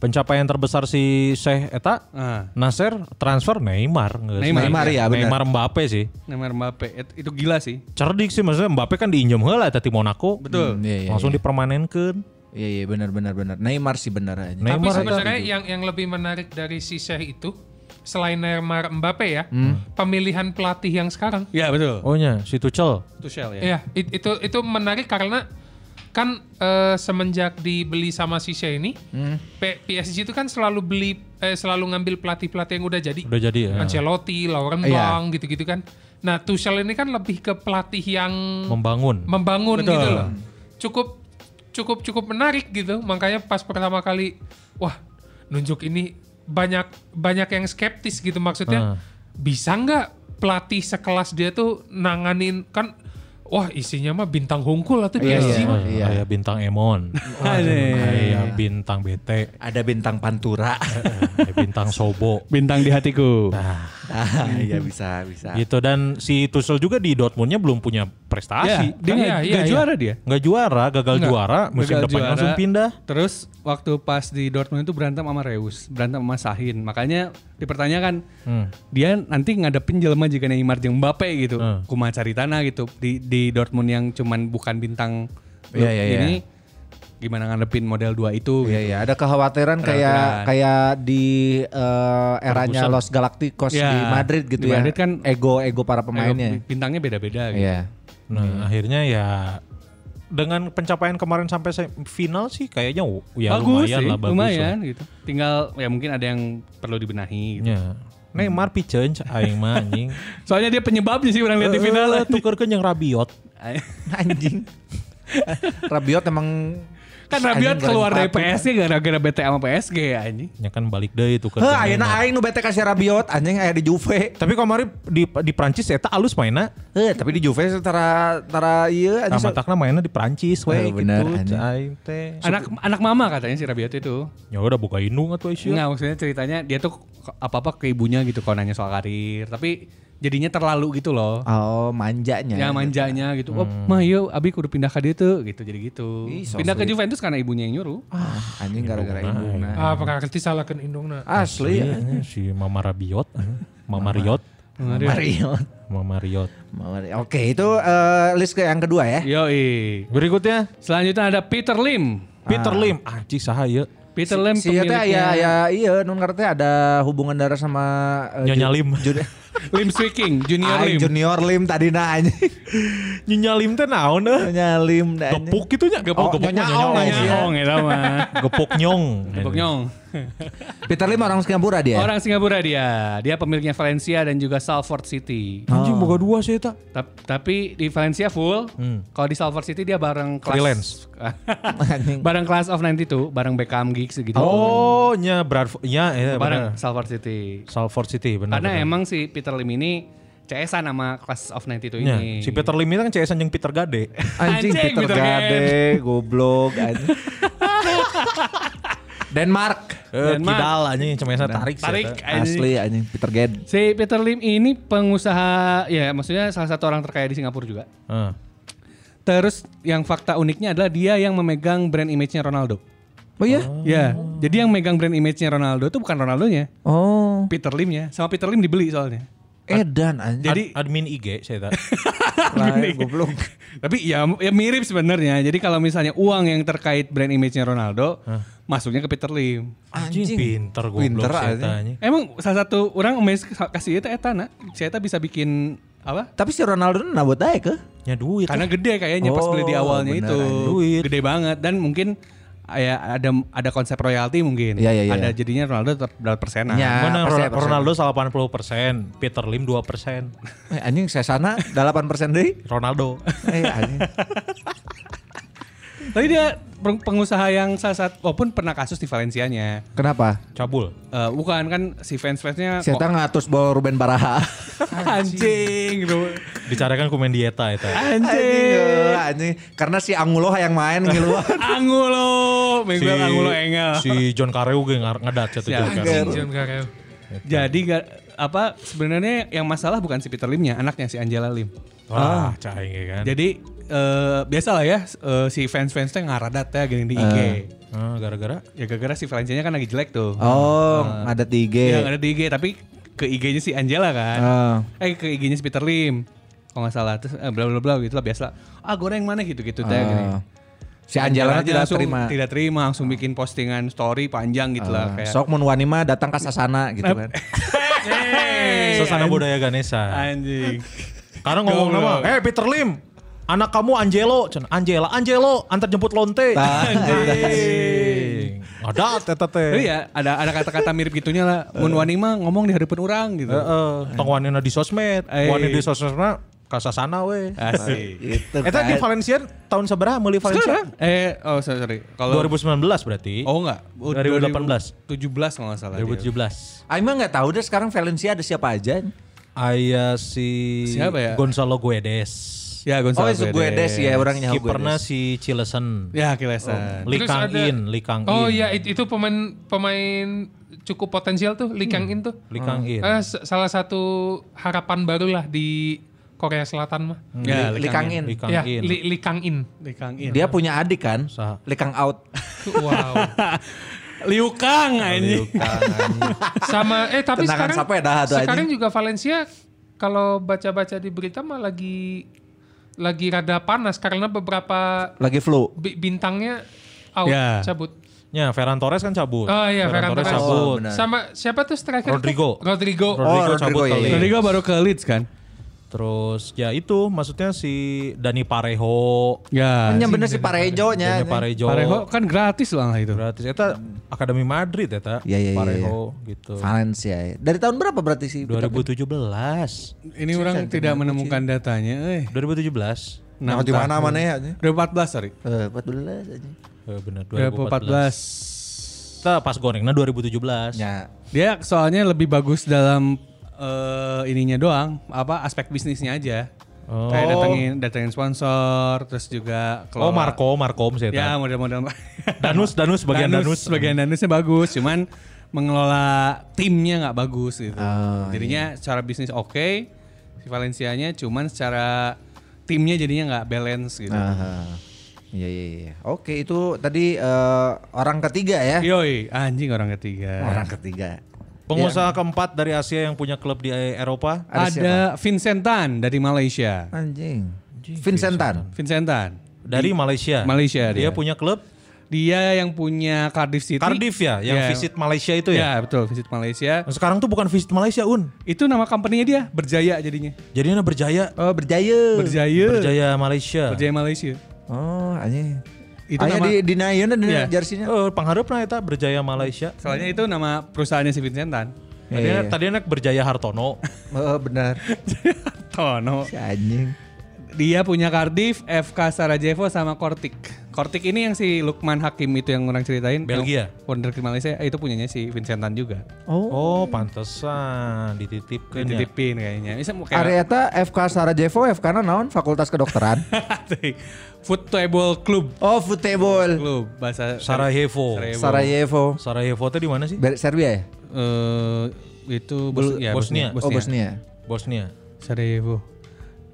Pencapaian terbesar si Syekh eta Ah. Nasir transfer Neymar. nggak sih? Neymar. Neymar ya, benar. Neymar Mbappe sih. Neymar Mbappe Et- eh, itu gila sih. Cerdik sih maksudnya Mbappe kan diinjam heula eta ti Monaco. Betul. Hmm, Iya iya. Langsung dipermanenkeun. Iya iya benar benar benar. Neymar sih benar aja. Tapi Neymar eta sebenarnya yang yang lebih menarik dari si Syekh itu selain Neymar Mbappe ya, pemilihan pelatih yang sekarang. Ya betul. Oh nya, si Tuchel. Itu Shell ya. Iya, it- itu itu menarik karena kan eh, semenjak dibeli sama si Syekh ini, P- PSG itu kan selalu beli eh, selalu ngambil pelatih-pelatih yang udah jadi. Udah jadi ya. Ancelotti, Laurent Iya. Blanc gitu-gitu kan. Nah, Tuchel ini kan lebih ke pelatih yang Membangun. membangun Betul. gitu loh. Cukup cukup cukup menarik gitu. Makanya pas pertama kali wah, nunjuk ini banyak banyak yang skeptis gitu Ah. maksudnya. Bisa nggak pelatih sekelas dia tuh nanganin kan wah isinya mah bintang hungkul atau Iya, PSG iya. mah. Iya. Aya bintang Emon. Aya bintang BT. Ada bintang Pantura. Aya bintang Sobo. Bintang di hatiku. ah, iya bisa bisa. Gitu dan si Tuchel juga di Dortmundnya belum punya Ya, prestasi. Kan dia Iya, nggak- iya, nggak iya. juara dia. Nggak juara, gagal Nggak. juara, musim Gagal depan juara. langsung pindah. Terus waktu pas di Dortmund itu berantem sama Reus, berantem sama Sahin. Makanya dipertanyakan dia nanti ngadepin jelema jika Neymar jeung Mbappe gitu. Hmm. Kumaha caritana gitu di di Dortmund yang cuman bukan bintang Iya, iya, iya. ini gimana ngadepin model dua itu Iya gitu. iya ada kekhawatiran kayak kayak di eh, eranya Ferguson. Los Galacticos Ya, di Madrid gitu di ya. Madrid kan ego-ego para Eh, pemainnya. Bintangnya beda-beda gitu. Iya. Nah, akhirnya ya dengan pencapaian kemarin sampai se- final sih kayaknya w- ya bagus lumayan sih, lah bagus. lumayan lah. gitu. Tinggal ya mungkin ada yang perlu dibenahi gitu. Ya. Neymar piceun ca- aing mah anjing. Soalnya dia penyebabnya sih orang lihat di final. Eh, eh, tukerkeun jeung Rabiot. Anjing. Rabiot emang kan Rabiot anjing keluar goreng dari patu. PSG gara-gara BT sama PSG ya anjing. Ya kan balik deh tukerkeun. Heh, ayeuna Neymar. aing nu bete ka si Rabiot, anjing aya di Juve. Tapi kemarin di di Prancis eta alus mainnya. Heh, tapi di Juve setara tara ieu Nah, anjing. matakna mainnya di Prancis Eh, we bener, anjing. gitu. Aing teh. Anak anak mama katanya si Rabiot itu. Ya udah buka indung atuh sih. Enggak maksudnya ceritanya dia tuh ke- apa-apa ke ibunya gitu kalau nanya soal karir. Tapi jadinya terlalu gitu loh. Oh, manjanya. iya. Ya manjanya gitu. Oh, mah yuk Abi kudu pindah ke dia tuh gitu jadi gitu. Hmm. Ih, so pindah ke sweet. Juventus karena ibunya yang nyuruh. Ah, anjing gara-gara indungna. Ah, pengerti salahkan indungna. Asli ya. Iya. Iya, si Mama Rabiot, Mama Riot, Mariot. Mama Riot. Oke, itu eh, list ke yang kedua Iya, ya. Yoi. Berikutnya Selanjutnya ada Peter Lim. Ah. Peter Lim, Ah, anjing saha ieu? Peter Lim Si ya pemiliknya ya ya iya nun ngerti ada hubungan darah sama eh, Nyonya ju- Lim. jun- Lim Swiking, Junior Aing Lim. junior Lim tadi nah anjing. Nyonya Lim teh naon eh? Nyonya Lim nah, anjing. Gepuk gitu nya, Oh, gepuk gepuk Nyonya Ong, Nyonya Ong. Nyonya. Nyong ya mah. Gepuk nyong. Tepuk nyong. Peter Lim orang Singapura dia. ya? Orang Singapura dia. Dia pemiliknya Valencia dan juga Salford City. Oh, Anjing boga dua sih eta. Ta- Tapi di Valencia full. Kalau di Salford City dia bareng kelas Hmm. Freelance. Anjing. bareng class of 92, bareng Beckham Giggs gitu. Oh, nya Bradford, nya eh, bareng bener. Salford City. Salford City benar. Karena emang si Peter Lim ini CS-an sama class of 92 Nya, ini. Iya, si Peter Lim itu kan CS anjing Peter Gade. Anjing, Anjing, Peter Peter Gade, goblok anjing. Denmark. Eh, Denmark. Kidal anjing cemesa tarik sih. Tarik eta. anjing. Asli anjing Peter Gade. Si Peter Lim ini pengusaha ya maksudnya salah satu orang terkaya di Singapura juga. Heeh. Terus yang fakta uniknya adalah dia yang memegang brand image-nya Ronaldo. Oh iya? Ya, jadi yang megang brand image-nya Ronaldo itu bukan Ronaldonya, Oh. Peter Lim-nya. Sama Peter Lim dibeli soalnya. Edan anjing. Jadi Ad- admin IG saya tak. Lain, goblok. Tapi ya, ya mirip sebenarnya. Jadi kalau misalnya uang yang terkait brand image-nya Ronaldo masuknya ke Peter Lim. Anjing. Pinter Pinter goblok saya aja. tanya. Emang salah satu orang amazed kasih eta eta na. Si eta bisa bikin apa? Tapi si Ronaldo nabut aja ke. Ya duit. Kan- Karena gede kayaknya pas beli di Iya. Oh, awalnya itu. beneran duit. Gede banget dan mungkin ya ada ada konsep royalti mungkin. Iya, iya, iya. Ada jadinya Ronaldo tetap dapat persenan. Iya. Mana Ah, persen, Ro- Ronaldo 80%, Peter Lim 2%, Eh, anjing saya sana udah 8% deh. Ronaldo. Eh anjing. Tapi dia peng- pengusaha yang salah satu walaupun pernah kasus di Valencianya. Kenapa? Cabul. Eh, bukan kan si fans-fansnya Saya tak ngatus bawa Ruben Baraha. anjing gitu. Bicarakan komen dieta itu. Ah, Anjing, Anjing. eh, anjing. Karena si Angulo yang main gitu. ngiluan. Angulo, Si, Miguel Angulo Engel. si John Kareu ge ngar- ngedat satu Si John Anjing, Kareu. John Carrell. Jadi ga- apa sebenarnya yang masalah bukan si Peter Limnya, anaknya si Angela Lim. Wah, cah ini kan. Jadi biasalah biasa lah ya eh, si fans-fansnya ngaradat ya gini di IG. Ah, gara-gara Ya gara-gara si Valencianya kan lagi jelek tuh. Oh, ada di IG. Iya ada di IG tapi ke IG-nya si Angela kan. Ah. Eh ke IG-nya si Peter Lim. Kalau nggak salah terus eh, bla bla bla gitu lah biasa. Ah goreng mana gitu-gitu teh gini. Ah. Si Anjalana Angelanya tidak langsung terima. Ah. Eh. Tidak terima langsung bikin postingan story panjang gitu lah kayak. Sok mun wanima datang ke sasana gitu kan. Hey, sasana an- budaya Ganesha. Anjing. Karena ngomong Goblok. nama, eh Peter Lim, anak kamu Angelo, Cen, Angela, Angelo, antar jemput lonte. Ah, Anjing. Ngedat eta Tapi teh. ya ada ada kata-kata mirip gitunya lah. Eh. Mun wani mah ngomong di hadapan orang gitu. Heeh, tong wanina di sosmed, Eh. wanina di sosmedna ka sasana we. Ah, Asik. Gitu Eta di Valencia tahun seberapa meuli Valencia? Sekarang? Eh oh sorry. sorry. Kalau 2019 berarti. Oh enggak. Oh, 2018. 2017 kalau enggak salah. dia. 2017. Aing mah nggak tahu deh sekarang Valencia ada siapa aja. Aya si Siapa ya? Gonzalo Guedes. Oh, Ya Gonzalo. itu Guedes ya orangnya Kipernya si Cilesen. Ya Oh. Kilesa. Lee Terus Kang ada- In, Lee Kang Oh In. iya, it- itu pemain pemain cukup potensial tuh, Lee Kang In tuh. Lee Kang Hmm. In. Eh, s- salah satu harapan baru lah di Korea Selatan mah. Ya Li- Li Likang Kang In. Lee Kang Ya, In. Lee, Lee Kang In. Li Kang In. Dia punya adik kan? Sa- Likang out. Wow. Liu Kang Oh, anjing. Sama eh Tendangan tapi ya? sekarang sampai dah tuh sekarang juga Valencia kalau baca-baca di berita mah lagi lagi rada panas karena beberapa Lagi flu. bi- bintangnya out Ya. cabut. Ya, Ferran Torres kan cabut. Oh iya, Ferran Torres. cabut. Oh, benar. Sama siapa tuh striker? tuh? Rodrigo. Rodrigo. Rodrigo Oh, cabut Rodrigo, iya, kali. iya. Tadi gua baru ke Leeds kan. Terus ya itu maksudnya si Dani Parejo. Oh, Ya. Yang bener Ah, si Parejo nya. Dani Parejo. Parejo kan gratis lah itu. Gratis. Eta Akademi Madrid Eta. Iya, iya, iya, Parejo gitu. Valencia. ya. Dari tahun berapa berarti sih? 2017. Ini orang tidak menemukan datanya. Eh. 2017. Nah, di mana mana ya? 2014 sorry. Eh, 14 aja. Eh, bener 2014. 2014. Kita pas goreng, nah 2017. Ya. Dia soalnya lebih bagus dalam eh, ininya doang, apa aspek bisnisnya aja. Kayak datengin datengin sponsor, terus juga Oh kelola- Marco, Marco saya Ya tahu. model-model Danus, Danus bagian Danus. bagian Danusnya bagus, cuman mengelola timnya nggak bagus gitu. Ah, iya. jadinya secara bisnis oke, si Valencianya cuman secara timnya jadinya nggak balance gitu. Ah. Aha. Iya iya iya. Oke, itu tadi eh, orang ketiga ya. Yoi, anjing orang ketiga. Orang ketiga. Pengusaha keempat dari Asia yang punya klub di Eropa. Ada siapa? Ada Vincent Tan dari Malaysia. Anjing. Vincent Tan. Vincent Tan. Dari Malaysia. Malaysia Dia dia. punya klub Dia yang punya Cardiff City. Cardiff ya, yang Ya. visit Malaysia itu ya. ya? betul, Visit Malaysia. Nah, Sekarang tuh bukan visit Malaysia, Un. Itu nama company-nya dia, Berjaya jadinya. Jadinya berjaya. Oh, berjaya. Berjaya. Ya. Berjaya, Berjaya Malaysia. Malaysia. Oh, anjing. Itu Aya nama- di di Nayana di Iya. jersinya. Eh, pengharapna eta berjaya Malaysia. Soalnya itu nama perusahaannya si Vincent Tan. Tadi Iya, iya. tadi anak berjaya Hartono. Oh, benar. Tono. Si anjing. Dia punya Cardiff, FK Sarajevo sama Kortik. Kortik ini yang si Lukman Hakim itu yang orang ceritain. Belgia. Yang Wonderkid Malaysia eh, itu punyanya si Vincent Tan juga. Oh, pantesan dititipkan ya. Dititipin kayaknya. Bisa mau kayak Areta FK Sarajevo, FK na naon? Fakultas Kedokteran. Football Club. oh, football. Club bahasa Sarajevo. Sarajevo. Sarajevo teh di mana sih? Ber- Serbia ya? eh itu Bos- ya, Bosnia. Oh, Bosnia. Bosnia. Sarajevo.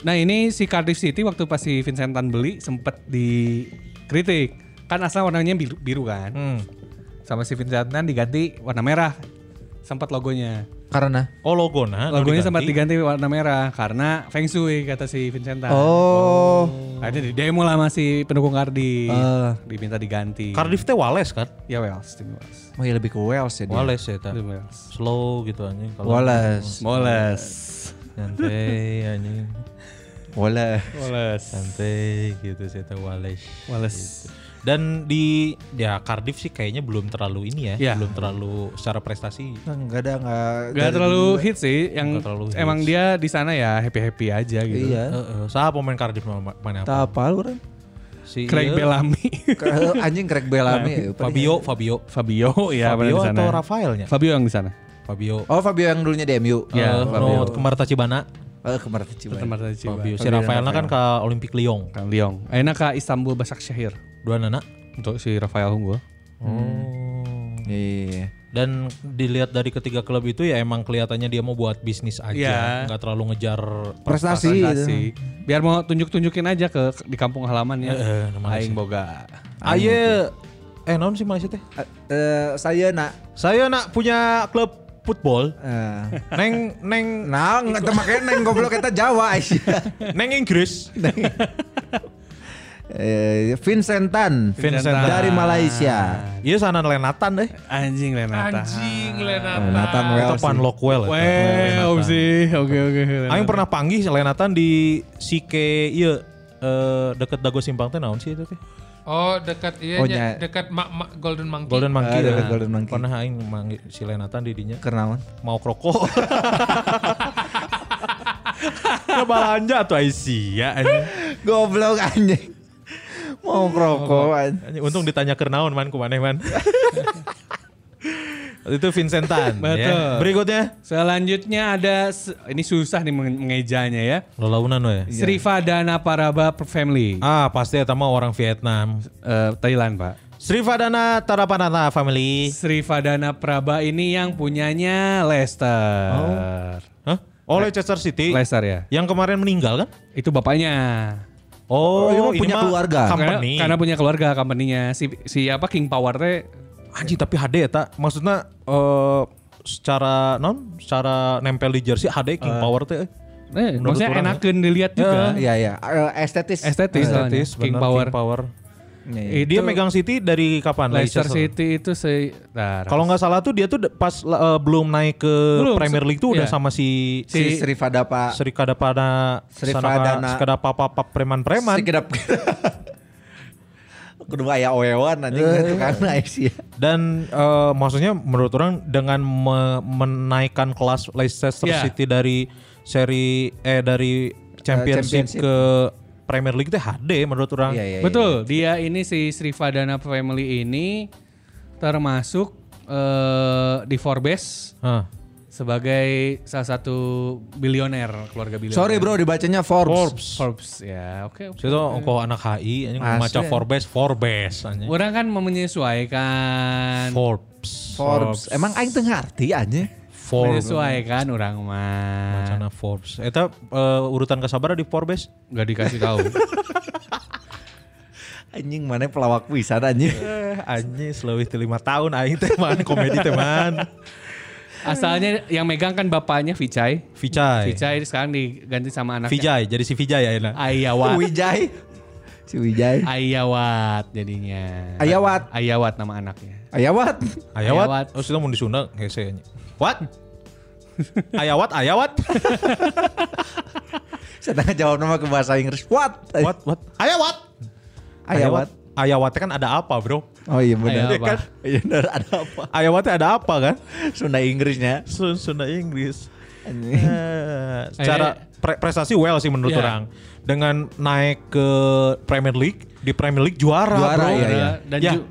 Nah ini si Cardiff City waktu pas si Vincent Tan beli sempet dikritik. Kan asal warnanya biru, biru kan. Hmm. Sama si Vincent Tan diganti warna merah. Sempat logonya. Karena Oh logo nah. Logonya sempat diganti warna merah karena Feng Shui kata si Vincenta. Oh, Akhirnya di demo lah masih pendukung Cardiff. Eh. Diminta diganti. Cardiff teh Wales kan? Ya Wales, tim Wales. mau ya lebih ke Wales ya dia. Wales ya ta. Tim Wales. Slow gitu anjing. Kalau Wales. Wales. Santai anjing. Wales. Wales. Santai gitu sih ta Wales. Wales. Dan di ya Cardiff sih kayaknya belum terlalu ini ya, Ya. belum terlalu secara prestasi. Enggak ada enggak Gak terlalu hit sih, yang Nggak terlalu hits. emang dia di sana ya happy happy aja gitu. Iya. Heeh, Saha pemain Cardiff nama- mana apa? Tak apa lu orang. Si Craig iya, Bellamy, Ke- Anjing Craig Bellamy. eh, Fabio, Fabio. Fabio ya benar Fabio di sana. atau Rafaelnya? Fabio yang di sana. Fabio. Oh, Fabio yang dulunya di MU. Oh, Ya, Fabio. Kemarta Cibana. Oh, kemarin kecil. Tempat tadi coba. Fabio. Si Rafaelnya kan ke Olympic Lyon. Kang Liong. Enak ke Istanbul Başakşehir Dua anak. untuk si Rafael Hunggo. Oh. Iya. Dan dilihat dari ketiga klub itu ya emang kelihatannya dia mau buat bisnis aja, Iya. nggak terlalu ngejar Prestasi. iya. gitu. Kasih. Biar mau tunjuk-tunjukin aja ke di kampung ya. halamannya. Heeh, nama sih. Aing boga. Aye, eh non sih Malaysia teh. Eh, eh, saya nak Saya nak punya klub football. eh, Neng neng Nah, nggak temaknya neng goblok kita Jawa. Aisyah. neng Inggris. Eh, Vincent Tan Vincent Tan. dari Malaysia. Iya sana Lenatan deh. Anjing Lenata. Anjing Lenatan. Lenatan well. Ah, Atau Pan Lockwell. eta. Wow Lenatan. sih. Oke oke. Lenata. Aing pernah panggil si Lenatan di Sike iya eh, deket Dago Simpang teh naon sih itu teh. Oh dekat iya Oh, nya, nya. dekat mak mak Golden Monkey. Golden Monkey. Ah, deket nah. Golden Monkey. Pernah aing manggil si Lenatan di dinya Kenalan. mau kroko. Ke balanja tuh Aisyah anjing. Goblok anjing. Mau kerokokan. Anjing, Untung ditanya ke naon man kumaneh man. itu Vincentan Betul. ya. Berikutnya Selanjutnya ada s- ini susah nih menge- mengejanya ya. Lelaunan we. Srivadana Paraba Family. Iya. Ah, pasti eta mah orang Vietnam. Eh, Thailand, Pak. Srivadana Tarapanata family. Srivadana Praba ini yang punyanya Leicester. Hah? Oh, Leicester City. Leicester ya. Yang kemarin meninggal kan? Itu bapaknya. Oh, ini mah punya keluarga. Karena, Company. karena punya keluarga company-nya. Si si apa King Power teh Anjing tapi HD ya tak? Maksudnya eh, secara non, secara nempel di jersey HD King Power teh. eh. eh, Menurut maksudnya orang Eh, enakeun dilihat juga. Iya ya, estetis. Estetis, soalnya. Estetis, King bener, Power. King Power. Iya, iya. Eh, dia megang City dari kapan? Leicester City itu se Kalau nggak salah tuh dia tuh de- pas eh, belum naik ke Belum, Premier se- League tuh udah iya. sama si si Srivada Pak. Serikada pada Srivadana. papa papa preman-preman Si kedap. Kedua ya oewan anjing gitu kan Aisyah. dan eh, maksudnya menurut orang dengan me- menaikkan kelas Leicester Iya. City dari seri eh dari Championship. championship, ke Premier League itu HD menurut orang. Iya iya. Betul, dia ini si Srivadana Family ini termasuk eh, di Forbes Hah. sebagai salah satu bilioner iya. keluarga bilioner. Sorry bro dibacanya Forbes. Forbes. Forbes ya, oke. oke. Itu kok anak HI anjing Asli. maca Forbes, Forbes anjing. Orang kan mau menyesuaikan, Forbes. Forbes. Emang aing teu ngarti anjing. Forbes. menyesuaikan orang mah. Macana Forbes. Eta eh, urutan kasabara di Forbes. Gak dikasih tahu. Anjing mana pelawak pisan anjing. Eh, anjing selewih 5 tahun aing teh man komedi teman. Asalnya yang megang kan bapaknya Vichai. Vijay. Vichai sekarang diganti sama anaknya. Vijay, jadi si Vijay ya Ah, enak. Ayawat. Wijay. Si Wijay. Ayawat jadinya. Ayawat. Ayawat nama anaknya. Ayawat. Ayawat. Ayawat. Oh, sudah mau di Sunda hese nya. What? ayawat, ayawat. Saya tanya jawab nama ke bahasa Inggris. What? What, what? Ayawat. Ayawat. Ayawat kan ada apa, Bro? Oh iya benar. Ayawat. Kan? Iya benar ada apa? Ayawatnya ada apa kan? Sunda Inggrisnya. Sun- Sunda Inggris. Anjing. Eh, secara pre- prestasi well sih menurut Iya. orang. Dengan naik ke Premier League, di Premier League juara, Juara, Bro. iya, iya. Dan Ya. ju-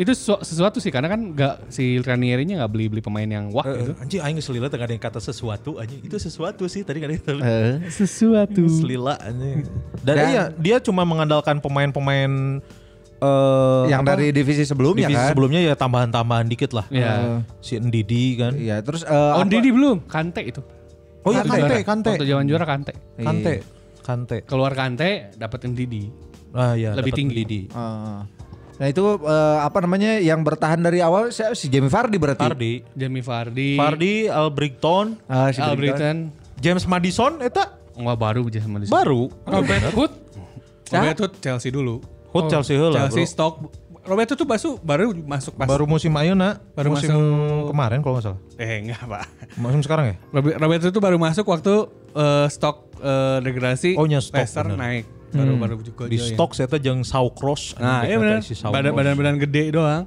itu sesu- sesuatu sih karena kan nggak si Ranieri-nya nggak beli-beli pemain yang wah gitu. Eh, anjing aing selila teh gak ada yang kata sesuatu anjing. Itu sesuatu sih tadi kan itu. Eh, Sesuatu. Selila anjing. Dan, Dan- iya, dia cuma mengandalkan pemain-pemain eh, yang apa? dari divisi sebelumnya divisi kan. sebelumnya ya tambahan-tambahan dikit lah. Ya. Si Ndidi kan. Iya, terus eh, Oh, apa- Didi belum? Kante itu. Oh iya Waktu Kante, juara- Kante. Waktu zaman juara Kante. Kante. Kante. Keluar Kante dapetin Didi. Ah iya, dapat Lebih tinggi. Ndidi. Eh, Nah itu eh, apa namanya yang bertahan dari awal saya si Jamie Vardy berarti. Fardi. Jamie Vardy, Fardi, Albrigton, Ah, si Al Brighton. Britton. James Madison, eta Enggak kan? baru aja sama di baru. Robert Hood Robert Hood Chelsea dulu. Hood Chelsea heula, Chelsea bro. stok. Robert Hood tuh basu, baru masuk pas. Baru musim ayo nak, Baru musim masuk- kemarin kalau nggak salah. Eh enggak pak. Musim sekarang ya? Robert, Robert Hood tuh baru masuk waktu eh, stok eh, degradasi. Oh, nya stok, Leicester bener. Hmm. naik. Baru baru juga. Di join. stok saya tuh jeung Saucross. Iya, Nah, iya benar. Badan badan badan gede doang.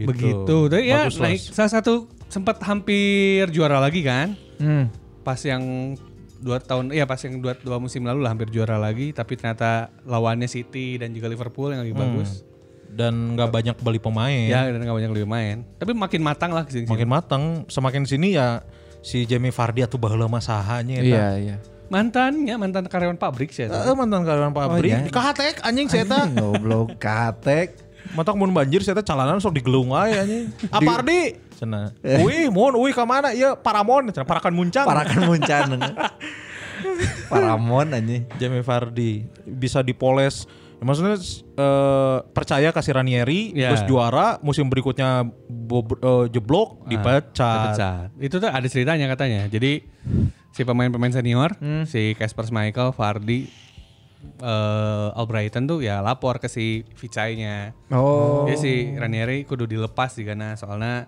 Gitu. Begitu. Tapi ya naik salah satu sempat hampir juara lagi kan. Hmm. Pas yang dua tahun ya pas yang dua, dua musim lalu lah hampir juara lagi tapi ternyata lawannya City dan juga Liverpool yang lagi Hmm. bagus. Dan nggak banyak beli pemain. Ya dan gak banyak lebih main. Tapi makin matang lah kesini. Makin matang, semakin sini ya si Jamie Vardy atuh baheula mah sahanya eta. Iya iya. Mantannya mantan karyawan pabrik sih. Heeh, mantan karyawan Oh, pabrik. iya. Di Kahatek anjing saya eta. Anjing, Goblok katek. Matak mun banjir saya teh calanan sok digelung ae anjing. Apa Ardi? Cenah. Uih, mun uih ka mana? Ieu Paramon, cenah Parakan Muncang. Parakan muncan. Paramon anjing. Jamie Vardy bisa dipoles. Ya, Maksudnya s- eh, percaya kasih Ranieri Ya. terus juara musim berikutnya bob- eh, jeblok dipecat. Dipecat. Itu tuh ada ceritanya katanya. Jadi si pemain-pemain senior, si Casper Michael, Vardy, eh Albrighton tuh ya lapor ke si Vichai-nya. Oh. Jadi si Ranieri kudu dilepas juga nah soalnya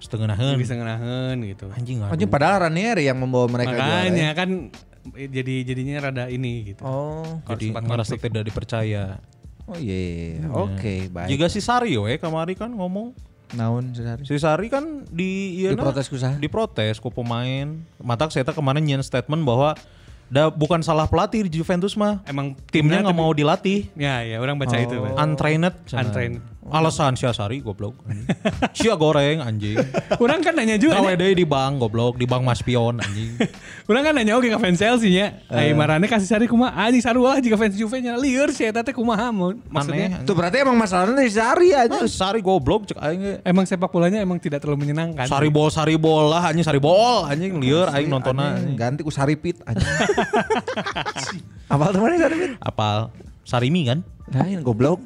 Setengahan. bisa ngenahen gitu. Anjing Oh. aduh. Anjing padahal Ranieri yang membawa mereka juara. ya. Makanya kan eh, jadi jadinya rada ini gitu. Oh. Jadi sempat merasa tidak dipercaya. Oh iya. Oke, baik. Jika si Sari we kamari kan ngomong Naon sehari? si Sari kan di ieu na- Diprotes ku saha? Diprotes ku pemain. Matak saya teh kemarin nyen statement bahwa da bukan salah pelatih di Juventus mah. Emang Timnya timnya nggak tapi- mau dilatih. Ya ya orang baca itu. Pak. Untrained. cenah. Untrained. Alasan Sia Sari goblok. Sia goreng anjing. Orang kan nanya juga. Gawe nih. deui di bank goblok, di bank Mas Pion anjing. Orang kan nanya oke ke fans Chelsea nya. Eh. Ai marane kasih sari kumaha Ah, anjing sarua jika fans Juve nya lieur sih eta teh kumaha mun. maksudnya. Aneh, Itu berarti emang masalahnya dari Sari aja. anjing. Ah, Sari goblok cek aing ge. Emang sepak bolanya emang tidak terlalu menyenangkan. Sari bol, sari bol lah anjing sari bol anjing lieur aing nontonna. Anjing, anjing. Ganti ku Sari Pit anjing. Apa temannya Sari Pit? Apal Sarimi kan? Lain goblok.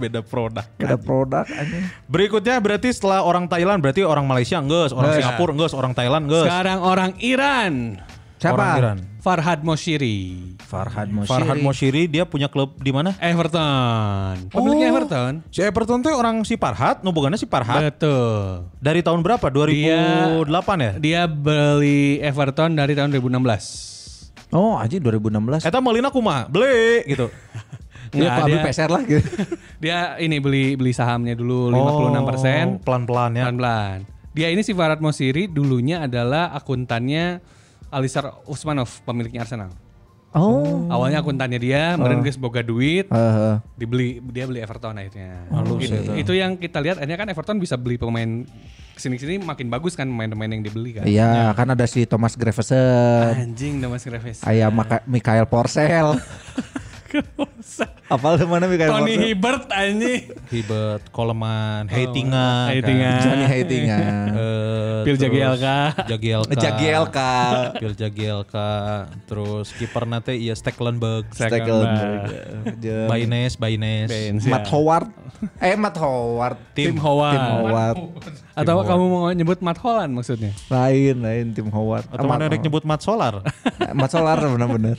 Beda produk. Ada produk anjing. Berikutnya berarti setelah orang Thailand berarti orang Malaysia enggak, orang Singapura enggak, orang Thailand enggak. Sekarang orang Iran. Orang Siapa? Iran. Farhad Moshiri. Farhad Moshiri. Farhad Moshiri dia punya klub di mana? Everton. Pemiliknya Oh. Everton. Si Everton tuh orang si Farhad, hubungannya si Farhad. Betul. Dari tahun berapa? 2008 ya? Dia beli Everton dari tahun 2016. Oh, anjing 2016. Eta melina kumaha? Beli gitu. Iya, Nggak, Pak, dia, beli peser lah gitu. dia ini beli beli sahamnya dulu 56%. Oh, Pelan-pelan ya. Pelan-pelan. Dia ini si Farhad Moshiri dulunya adalah akuntannya Alisar Usmanov, pemiliknya Arsenal. Oh. Awalnya akuntannya dia, kemudian dia boga duit, Heeh. dibeli dia beli Everton akhirnya. itu, itu yang kita lihat akhirnya kan Everton bisa beli pemain kesini sini makin bagus kan pemain-pemain yang dibeli kan. Iya, Ah. kan ada si Thomas Gravesen, Anjing Thomas Graves. ayah Maka- Mikael Porcel. Apa lu mana Mikael Tony Porcel? Hibbert anjing. Hibet, Coleman, Heitingan. Johnny kan. Hatingan. Heitingan. Eh, Phil terus Jagielka. Jagielka. Jagielka. Phil Jagielka. Terus kiper nate iya Stecklenburg. Stekelenburg. Je- Baines, Baines. Matt Howard. Eh, Matt Howard. Tim Tim Howard. Howard. Atau kamu mau nyebut Matt Holland maksudnya? Lain, lain tim Howard. Ah, Atau mana Matt Rek nyebut Mat Solar? Howard. Matt Solar benar-benar.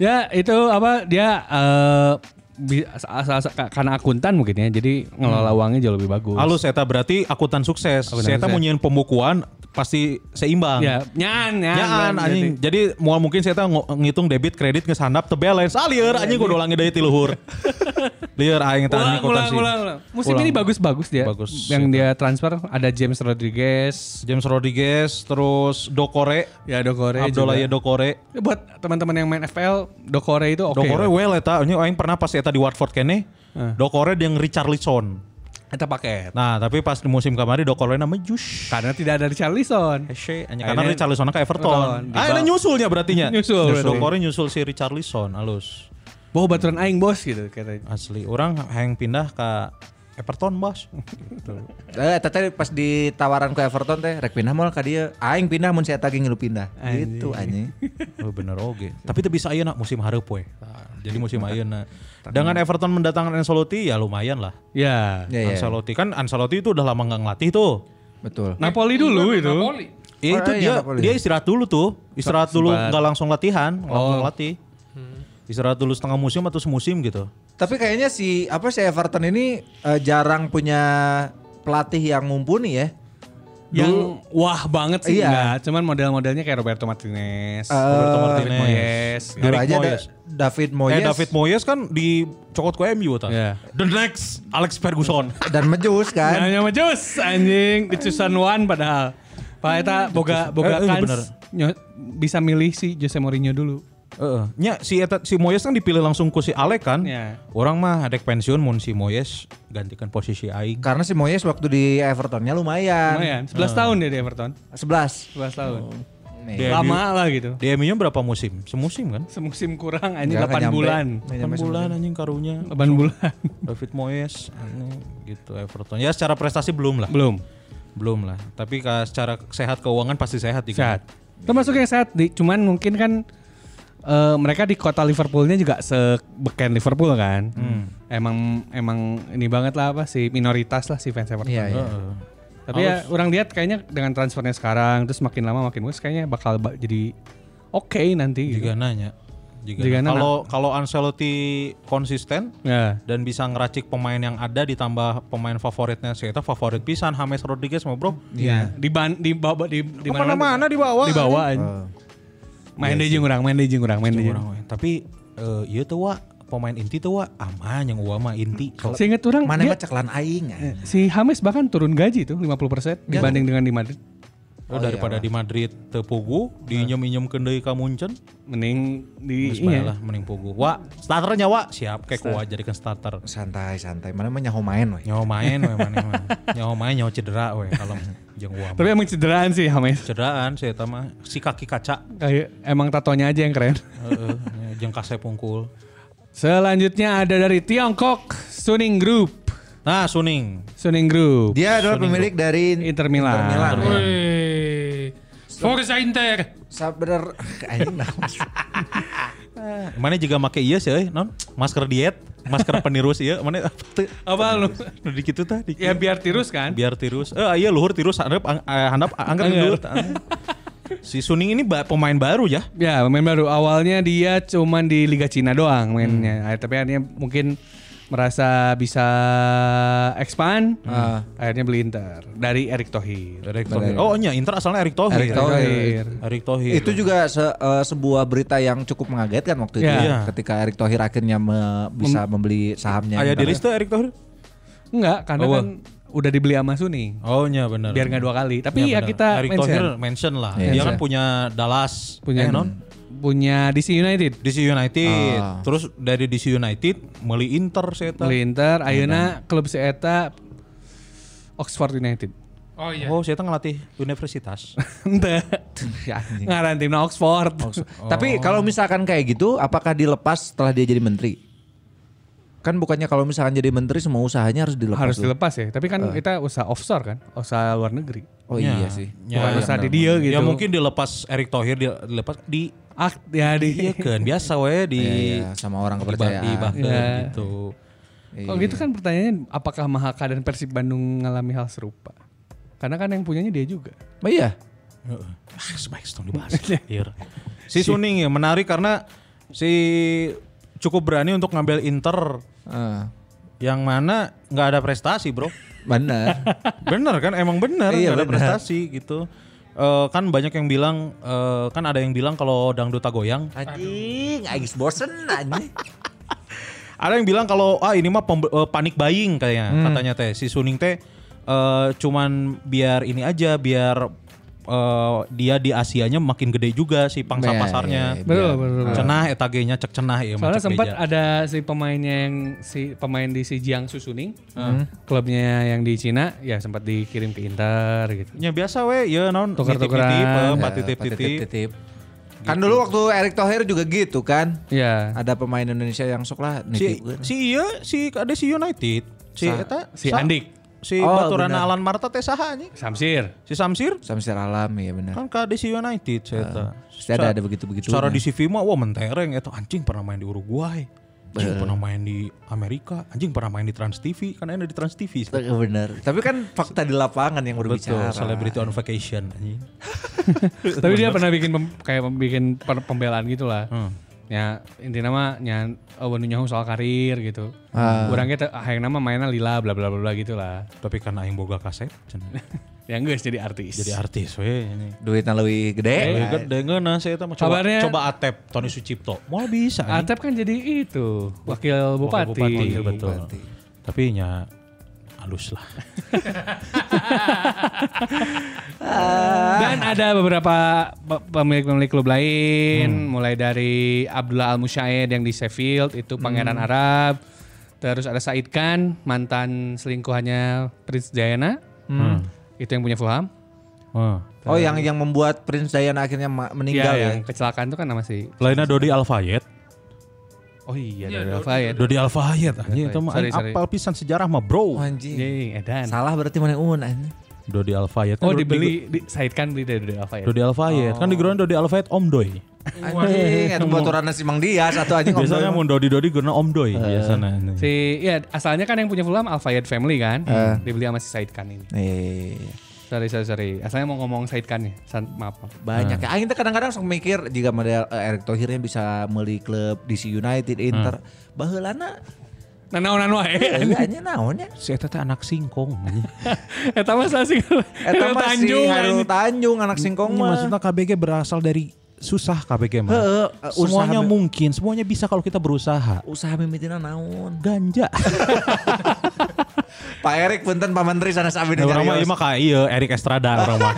Ya itu apa dia eh, bi- asal- asal- karena akuntan mungkin ya. Jadi ngelola uangnya jauh lebih bagus. Hmm. Halus Eta berarti akutan sukses. Akutan Seta sukses. munyiin pembukuan pasti seimbang. Ya, nyaan, nyaan. Nyaan Jadi- anjing. Jadi mual mungkin saya ngitung debit kredit ke handap teu balance. Ah lieur Iya, anjing kudu ulangi deui ti luhur. lieur aing eta Ulang, anjing ulang, akuntansi. ulang, ulang. Musim Ulang. ini bagus-bagus dia. Bagus. Yang dia transfer ada James Rodriguez, James Rodriguez terus Dokore, ya Dokore Abdullah juga. Ya, Dokore. Buat teman-teman yang main FPL, Dokore itu oke. Eh. Dokore well eta anjing aing pernah pas eta di Watford kene. Dokore yang Richarlison. Kita pakai. Nah, tapi pas di musim kemarin Dokore nama Jus. Karena tidak ada Richarlison. Hese, anjing. Akhirnya- Karena Richarlison ke Everton. Everton. Di Ah, ini bawah. nyusulnya berartinya. Nyusul berarti. Dokore nyusul si Richarlison, halus. Bahwa baturan aing bos gitu katanya. Asli, orang hang pindah ke Everton bos. Eh, tete pas ditawaran ke Everton teh rek pindah mall ka dieu. Aing pindah mun saya tagih ngilu pindah. Gitu anjing. Oh, bener oge. Tapi itu bisa ayeuna musim hareup we. Jadi musim ayeuna. Dengan Everton mendatangkan Ancelotti ya lumayan lah. Ya. Ya, ya. Ancelotti kan Ancelotti itu udah lama nggak ngelatih tuh. Betul. Napoli dulu itu. Napoli. Ya Oh, itu iya, dia nggak boleh. dia istirahat dulu tuh. Istirahat dulu Sempat. nggak langsung latihan, nggak langsung Oh. latih. Istirahat dulu setengah musim atau semusim gitu. Tapi kayaknya si apa si Everton ini eh, jarang punya pelatih yang mumpuni ya. Yang wah banget sih Iya. Eh, enggak, cuman model-modelnya kayak Roberto Martinez, Roberto David Moyes. Dulu Eric aja ada Moyes. David Eh Moyes David Moyes kan dicokot ke MU tah. Iya. The next Alex Ferguson. dan Mejus kan. Namanya mah Jus anjing, dicusan Wan padahal. Pak Eta boga boga Eh, eh, kans bener. nyo- bisa milih si Jose Mourinho dulu. Heeh. Nya si eta, si Moyes kan dipilih langsung ku si Alek kan. Iya. Orang mah adek pensiun mun si Moyes gantikan posisi aing. Karena si Moyes waktu di Evertonnya lumayan. Lumayan, Eh. 11 ya, tahun dia di Everton. 11. 11 tahun. Nih. Di Lama lah gitu. Di MU-nya berapa musim? Semusim kan? Semusim kurang anjing Nggak akan 8 nyampe. bulan. Nggak nyampe 8 bulan anjing karunya. 8 bulan. David Moyes aneh, gitu Everton. Ya secara prestasi belum lah. Belum. Belum lah. Tapi ka- secara sehat keuangan pasti sehat juga. Sehat. Termasuk yang sehat, di, cuman mungkin kan eh, mereka di kota Liverpoolnya juga sebeken Liverpool kan. Emang emang ini banget lah apa sih minoritas lah si fans Everton. Iya, iya. Tapi ya orang lihat kayaknya dengan transfernya sekarang terus makin lama makin bagus kayaknya bakal ba- jadi oke nanti. gitu. Juga nanya. Juga. Juga nanya. nanya. Kalau kalau Ancelotti konsisten Ya. dan bisa ngeracik pemain yang ada ditambah pemain favoritnya si Eta favorit pisan James Rodriguez mah bro. Iya. Di ban di bawa di di Ke mana-mana dibawa. Di bawah. anjing. Main deh jeung urang, main deh jeung urang, main deh. jeung urang. Orang we. Tapi eh, ieu teu wa pemain inti teu wa aman yang gua mah inti. Seingat orang Mana dia- Iya. mah ceklan aing. anjing. si Hames bahkan turun gaji tuh 50% dibanding dengan di Madrid. iya, Oh, daripada di Madrid teu pugu, diinjem-injem deui ka Munchen. Mending di iya. Terus bae lah mending pugu. Wa, starternya wa siap kayak gua jadikan starter. Santai santai. Mana mah nyaho main we. Nyawa main we maneh mah. Nyawa main nyawa cedera we kalau jeung gua. Tapi mah. emang cederaan sih Hames. Cederaan si eta mah si kaki kaca. Kayak emang tatonya aja yang keren. Heeh, jeung kase pungkul. Selanjutnya ada dari Tiongkok, Suning Group. Nah, Suning. Suning Group. Dia adalah pemilik dari Inter Milan. Wih. Forza Inter. Saber anjing naon. Mana juga make ieu sih euy, non? Masker diet, masker penirus ieu, mana apa teu? Apa lu? Nu di kitu tah, di Ya biar tirus kan? biar tirus eh iya luhur tirus handap ang- eh, handap angker dulu si Suning ini ba- pemain baru ya Ya, pemain baru. Awalnya dia cuman di Liga Cina doang Hmm. mainnya. Ah, Tapi akhirnya mungkin merasa bisa expand, Hmm. Ah. akhirnya beli Inter dari Erick Thohir. Erick Thohir oh iya Inter asalnya Erick Thohir Erick Thohir. Erick Thohir Itu juga se- eh, sebuah berita yang cukup mengagetkan waktu itu ya. Iya. ketika Erick Thohir akhirnya me- bisa membeli sahamnya. ada Inter. di list tuh Erick Thohir Enggak, karena Oh, kan udah dibeli sama Suning. oh iya benar Biar nggak dua kali. Tapi ya, benar. kita Iya, Erick mention. Thohir mention lah Iya. dia Mention. kan punya Dallas eh, punya non punya DC United. DC United Ah. terus dari DC United meli Inter saya Beli Inter, ayeuna klub si eta Oxford United. Oh iya. oh saya ngelatih universitas Ente. Ngaran timna Oxford. Tapi kalau misalkan kayak gitu, apakah dilepas setelah dia jadi menteri? Kan bukannya kalau misalkan jadi menteri semua usahanya harus dilepas. Harus dulu. dilepas ya. Tapi kan Eh. kita usaha offshore kan, usaha luar negeri. Oh Ya. iya sih. Ya, ya, Bukan usaha di benar. dia gitu. ya mungkin dilepas Erick Thohir dia- dilepas di Ak- Iya ya di kan biasa we di Iya, iya, sama orang kepercayaan. di bahkan Iya. gitu. Kalau gitu kan pertanyaannya apakah Mahaka dan Persib Bandung mengalami hal serupa? Karena kan yang punyanya dia juga. Oh iya. Ah, sebaik setahun dibahas. Iya. si Suning ya menarik karena si cukup berani untuk ngambil Inter Eh, yang mana nggak ada prestasi bro. benar. bener kan emang bener Iya, nggak ada bener. prestasi gitu. Eh, kan banyak yang bilang eh, kan ada yang bilang kalau dangduta goyang anjing, agis bosen anjing. Ada yang bilang kalau ah ini mah pembe- eh, panik buying kayaknya katanya teh si Suning teh eh, cuman biar ini aja biar eh, dia di Asianya makin gede juga si Iya, pangsa iya, pasarnya. iya, Betul, betul, betul. Cenah eta ge nya cek cenah ieu mah Soalnya cek sempat beja. ada si pemainnya yang si pemain di si Jiangsu Suning, Hmm. klubnya yang di Cina, ya sempat dikirim ke Inter gitu. Ya biasa we, ya non Tuker-tukeran. nitip-nitip, eh, Ya, patitip-titip. patitip-titip. Kan dulu waktu Erick Thohir juga gitu kan. Ya. Ada pemain Indonesia yang sok lah Si nitip. si ieu si ada si United. Si eta Si sa- Andik. Si Oh, Baturana benar. Alan Marta teh saha anjing? Samsir. Si Samsir Samsir Alam ya benar. kan ke DC United saya eta. pasti Ah, ada- ya. ada begitu-begitunya. Secara di CV mah wah mentereng eta anjing pernah main di Uruguay. Anjing pernah main di Amerika, anjing pernah main di Trans TV, kan ada di Trans TV. Benar. Tapi kan fakta di lapangan yang berbicara. Betul, celebrity on vacation anjing. Tapi dia pernah bikin pem- kayak pem- bikin per- pembelaan gitu lah. Ya intinya mah nyan oh, nyaho soal karir gitu. Orangnya hayang nama mainnya lila bla bla bla bla gitu lah. Tapi karena aing boga kaset, cen. Yang guys jadi artis. jadi artis we ini. Duitnya lebih gede. Eh, dengan saya itu coba Kabarnya- coba atep Tony Sucipto. Mau bisa. anjing. Atep kan jadi itu wakil bupati. Wakil betul. Tapi nya halus lah. Dan ada beberapa pe- pemilik-pemilik klub lain, mulai dari Abdullah Al Musyaid yang di Sheffield itu Pangeran Arab, terus ada Said Khan mantan selingkuhannya Prince Jayana, Hmm. itu yang punya Fulham. Wah. Oh yang yang membuat Prince Diana akhirnya ma- meninggal Iya, ya. yang kecelakaan itu kan nama si Lainnya Dodi Alfayet. Oh iya dari Rafael. Dodi Alfayet anjing Alfayet. itu mah Sorry, aing sorry. apal pisan sejarah mah bro. Oh, Anjing. Iya, Edan. Salah berarti mana un anjing. Dodi Alfayet. Kan Oh Dodi- dibeli di, Said Khan beli dari Rafael. Dodi Alfayet. Kan di grup Dodi Alfayet Om Doi. Anjing, itu baturanna si Mang Dias atau anjing om Biasanya Dono. mun Dodi Dodi guna Om Doi biasanya. Si ya asalnya kan yang punya Fulham Al Fayed Family kan. Dibeli sama si Said Khan ini. Eh, Sorry sorry sorry. Asalnya mau ngomong Said Khan ya. San, maaf. maaf. banyak Hmm. ya. Aing teh kadang-kadang sok mikir jika model eh, Erick Thohirnya bisa meuli klub DC United Hmm. Inter. Baheulana Nah, naon naon wae. anjing naon ya? Si eta teh anak singkong. anjing. Eta mah sasing. Eta mah si Hairul Tanjung anak singkong Ini mah. Iya, maksudnya KBG berasal dari susah KBG mah. Eh, Heeh, semuanya usaha- mungkin, semuanya bisa kalau kita berusaha. Usaha mimitina naon. Ganja. Pak Erik punten Pak Menteri sana sabi nu orang mah carios. ieu mah ka ieu Erik iya, Estrada orang mah.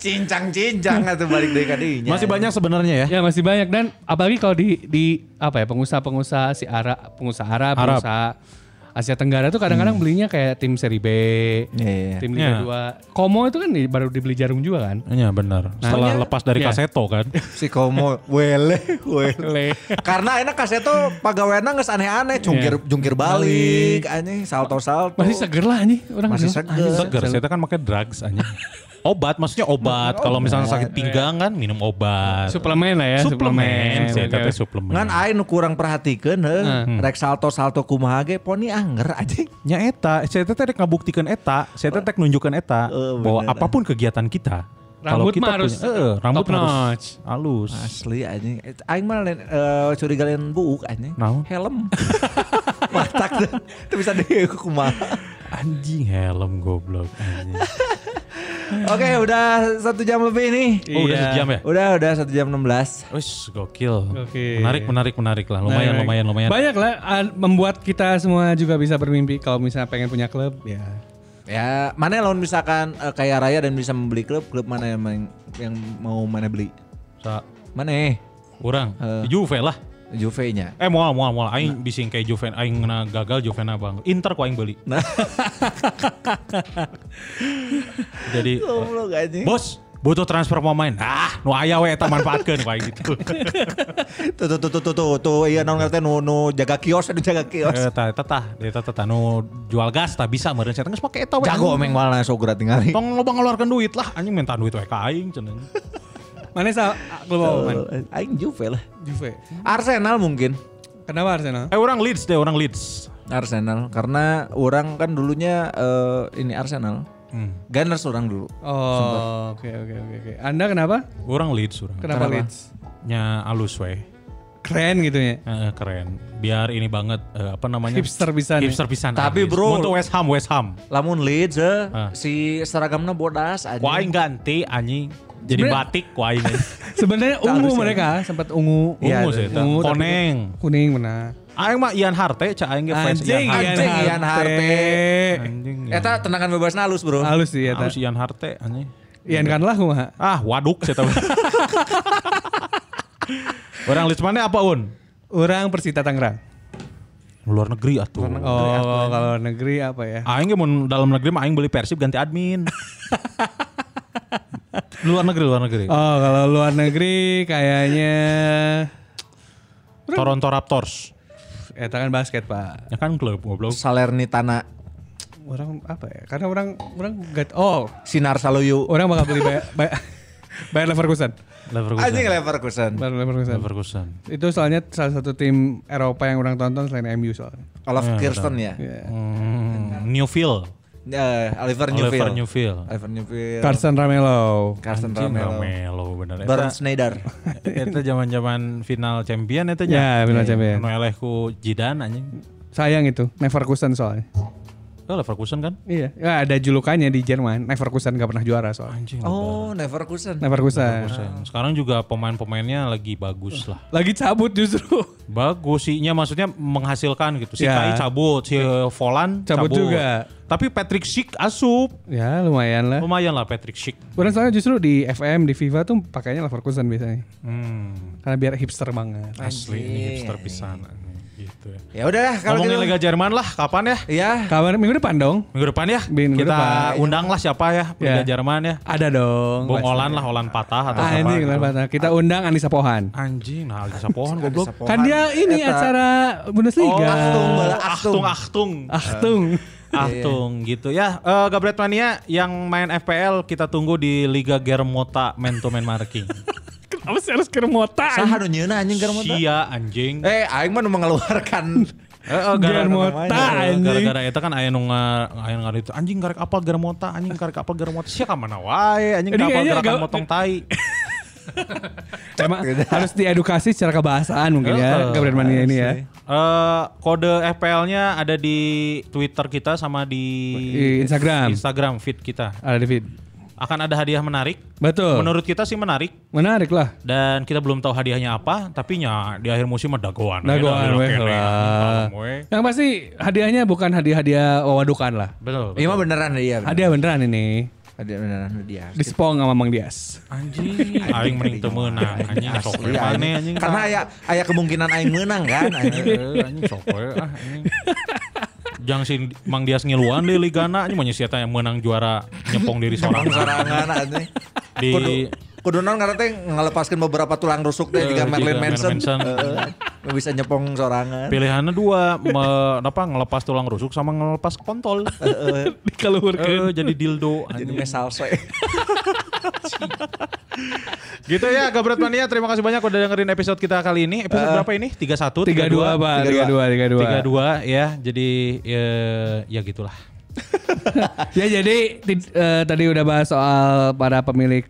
cincang-cincang atau balik dari kadinya. Masih banyak sebenarnya ya. Ya masih banyak dan apalagi kalau di di apa ya pengusaha-pengusaha si Arab, pengusaha Arab, Arab. pengusaha Asia Tenggara tuh kadang-kadang belinya kayak tim seri B, Iya, iya. tim Liga Iya. 2. Komo itu kan di- baru dibeli jarum juga kan. Iya benar. Setelah Soalnya- lepas dari Iya. kaseto kan. si komo wele wele. Le. Karena enak kaseto pagawena geus aneh-aneh, jungkir jungkir balik, aneh salto-salto. Masih seger lah nih orang. Masih bilang. seger. Anjing, Seger, saya kan pakai drugs aja. Obat, maksudnya obat. Kalau misalnya sakit pinggang kan minum obat. Suplemen lah ya, suplemen, iya, saya Oke. kata suplemen. Ngan aing nu kurang perhatikeun heuh, rek salto-salto kumaha ge poni anger anjing. Nya eta, saya teh rek ngabuktikan eta, saya teh rek nunjukkan eta Eh, bahwa bener. apapun kegiatan kita, kalau Rambut kita mah harus punya- eh, rambut top harus notch. halus. Asli anjing. Aing mah lain eh, curiga lain buuk anjing. Naon? Helm. Matak tuh. Itu bisa di kumaha. Anjing helm goblok anjing. Oke, udah satu jam lebih nih. Oh, udah Iya. sejam ya? Udah, udah satu jam 16. Wis, gokil. Gokil. Menarik, menarik, menarik lah. Lumayan, Nah, lumayan, lumayan. Banyak lah uh, membuat kita semua juga bisa bermimpi kalau misalnya pengen punya klub ya. Ya, mana lawan misalkan eh, kaya raya dan bisa membeli klub, klub mana yang main- yang mau mana beli? Sa Mana? urang, Eh. Juve lah. Juve-nya. Eh moal moal moal aing bising kayak Juve aing na gagal Juve na bang. Inter ku aing beli. Nah, Jadi Goblok anjing. bos butuh transfer pemain. Ah, nu aya we eta manfaatkeun ku aing gitu. Tuh tuh tuh tuh tuh tuh, tuh iya naon ngerti nu nu jaga kios, aduh jaga kios. Eta eta tah, eta tah tah nu jual gas tah bisa meureun saya teh geus make eta we. Jago anjing. meng malah sogura tinggali. Tong loba ngeluarkeun duit lah anjing minta duit we ka aing cenah. Mana sa klub apa, Man? Aing Juve lah. Juve. Arsenal mungkin. Kenapa Arsenal? Eh orang Leeds deh, orang Leeds. Arsenal karena orang kan dulunya eh, ini Arsenal. Hmm. Gunners orang dulu. Oh, oke oke oke oke. Anda kenapa? Orang Leeds urang. Kenapa, Leeds? Nya alus we. Keren gitu ya. Eh, keren. Biar ini banget eh, apa namanya? Hipster pisan ya. Hipster pisan. Tapi, abis. bro- Untuk West Ham, West Ham. Lamun Leeds eh, Ah. si seragamnya bodas aja. Kuaing ganti anjing. Jadi Sebenernya- batik kuaing. Sebenarnya ungu mereka, sempat ungu. Ungu Ungu sih. eta. Iya, Ungu, tapi Koneng. kuning benar. Aing mah Ian Harte, cak aing ge fans Ian Anjing, Harte. Anjing, Ian Harte. Anjing. Eta Eta tendangan bebas halus bro. Halus sih ya. harus Ian Harte anjing. Ian kan lah kumaha. Ah, waduk saya tahu. Orang Leeds mana apa un? Orang Persita Tangerang. Luar negeri atuh. Oh, kalau negeri apa ya? Aing ge mun dalam negeri mah aing beli Persib ganti admin. luar negeri, luar negeri. Oh, kalau luar negeri kayaknya Toronto Raptors. Eta kan basket pak. Ya kan klub goblok. Salernitana Orang apa ya? Karena orang orang gak oh Sinar Saluyu Oh, iya, orang bakal beli bayar bayar, bayar Leverkusen. Leverkusen. anjing Leverkusen Bayar Leverkusen. Leverkusen. Itu soalnya salah satu tim Eropa yang orang tonton selain MU soalnya. Olaf Kirsten ya Iya. Hmm, Newfield. Eh, Oliver Oliver Newfield Newfield. Oliver Newfield Carson Ramelo. Carson Anjing, Romero Romelo bener. Eta- Baron Schneider Eta zaman-zaman final champion eta Ya, final champion. Nu eleh ku Zidane anjing. Sayang itu Leverkusen soalnya. Oh, Leverkusen kan? Iya. Ya, ada julukannya di Jerman. Leverkusen gak pernah juara soalnya. Anjing. Oh Leverkusen Leverkusen. Leverkusen. Sekarang juga pemain-pemainnya lagi bagus lah. Lagi cabut justru. Bagus sihnya maksudnya menghasilkan gitu. Si Kai Ya. cabut, si Volan Cabut cabut, juga. Tapi Patrick Schick asup. ya lumayan lah. Lumayan lah Patrick Schick. Orang soalnya justru di FM di FIFA tuh pakainya Leverkusen biasanya. Hmm, Karena biar hipster banget. asli ini Iya, hipster pisan gitu ya. Ya udahlah kalau Ngomongin gitu Liga Jerman lah, kapan ya? Ya Kabar minggu depan dong. Minggu depan ya. Minggu kita depan. undanglah siapa ya Liga Ya. Jerman ya. Ada dong. Bung Olan lah, Olan patah atau Ah, siapa. anjing gitu. lah, Pak. Kita undang Anissa Pohan. Anjing, nah Alisa Pohon goblok. Kan dia ini acara Bundesliga. Achtung, bala Achtung, Achtung. Achtung. Achtung. Iya. Achtung gitu ya. Eh Gabret Mania yang main FPL kita tunggu di Liga Germota Man to Man Marking. Kenapa sih harus kermotan? Saha Ah, nu nyeuna anjing Garmota Sia anjing. Eh aing mah nu mengeluarkan Eh, eh, Germota, anjing. Gara-gara itu kan aya nu nga- aya nu ngadu itu anjing garek apal Germota, anjing garek apal Germota. Sia ka mana wae anjing Ini kapal kayaknya gerakan gak- motong tai. Emang harus diedukasi secara kebahasaan mungkin ya. Eh, Gabriel Mania ini ya. Eh kode FPL-nya ada di Twitter kita sama di, Di Instagram. Instagram feed kita. Ada David. Akan ada hadiah menarik. Oh. Betul. Menurut kita sih menarik Menarik lah. dan kita belum tahu hadiahnya apa, tapi nya di akhir musim ada dagoan. Nah, gua Ada anu, kene, lah. kalem we. Yang pasti hadiahnya bukan hadiah-hadiah wawadukan lah. Betul. Iya mah beneran dia Hadiah beneran ini. Ada beneran dia Dispong sama Mang Dias. Anjing, aing mending teu meunang. Anjing sok we Iya, maneh, anjing. anjing. Karena aya aya kemungkinan aing menang kan. anjing. Eh, anjing sok we, ah, anjing. Jang si Mang Dias ngiluan deh Ligana, anjing mah siapa yang menang juara nyepong diri seorang. Sorangan anjing. Di Kudu naon karena teh ngalepaskeun beberapa tulang rusuk teh Eh, jika Marilyn jika Manson. Marilyn Manson. Heeh. Nu bisa nyepong sorangan. pilihannya dua, me, apa ngelepas tulang rusuk sama ngelepas kontol. Dikeluarkan. Eh, jadi dildo. Jadi anjing. mesalse. Gitu ya Gabret Mania Terima kasih banyak udah dengerin episode kita kali ini Episode berapa ini? 31? 32 Pak. 32. 32 ya Jadi ya, ya gitulah ya jadi ti- eh, tadi udah bahas soal para pemilik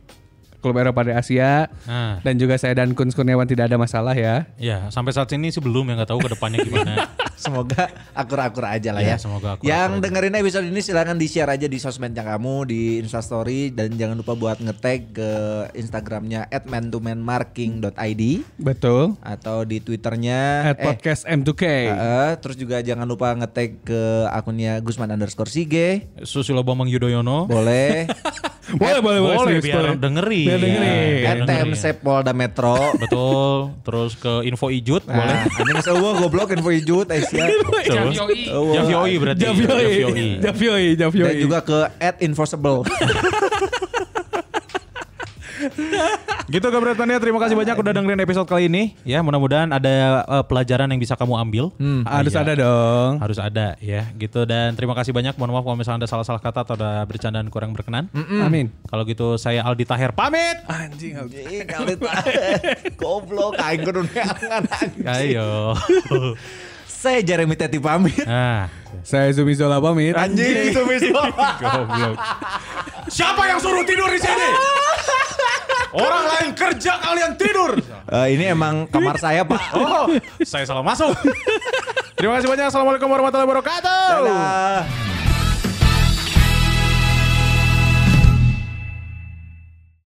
klub Eropa di Asia Ah. dan juga saya dan Kun Kurniawan tidak ada masalah ya. Ya sampai saat ini sih belum ya nggak tahu ke depannya gimana Semoga akur-akur aja lah ya. Iya, semoga akur-akur Yang aja. dengerin episode ini silahkan di-share aja di sosmednya kamu, di Instastory dan jangan lupa buat ngetag ke Instagramnya @man2manmarking.id Betul. atau di Twitternya At Eh. podcast M2K. Heeh, terus juga jangan lupa ngetag ke akunnya Gusman underscore Sige. Susilo Bambang Yudhoyono Boleh. Nah, boleh, boleh, boleh, Boleh serius, biar dengerin Iya, Biar dengerin. Biar dengerin. NTM Polda Metro. Betul Terus ke Info Ijut boleh Nah, anjing seueuh goblok info hijut eh, Iya, Aisyah. Terus Javioi. Javioi berarti ya, Javioi, Javioi, Javioi. iya. Dan juga ke at @infosable. Gitu Gabret Mania Terima kasih banyak udah dengerin episode kali ini Ya mudah-mudahan ada eh, pelajaran yang bisa kamu ambil harus Iya. ada dong. harus ada ya gitu dan terima kasih banyak mohon maaf kalau misalnya ada salah-salah kata atau ada bercandaan kurang berkenan Amin. kalau gitu saya Aldi Tahir pamit Anjing. Ih, kali ta- goblok aing kudu neangan anjing. Iya. ayo Saya Jeremy Teti pamit. nah Saya Zumi Zola pamit. Anjing itu misalnya. goblok siapa yang suruh tidur di sini orang lain kerja kalian tidur Eh, ini emang kamar saya, Pak. oh saya salah masuk terima kasih banyak assalamualaikum warahmatullahi wabarakatuh Dadah.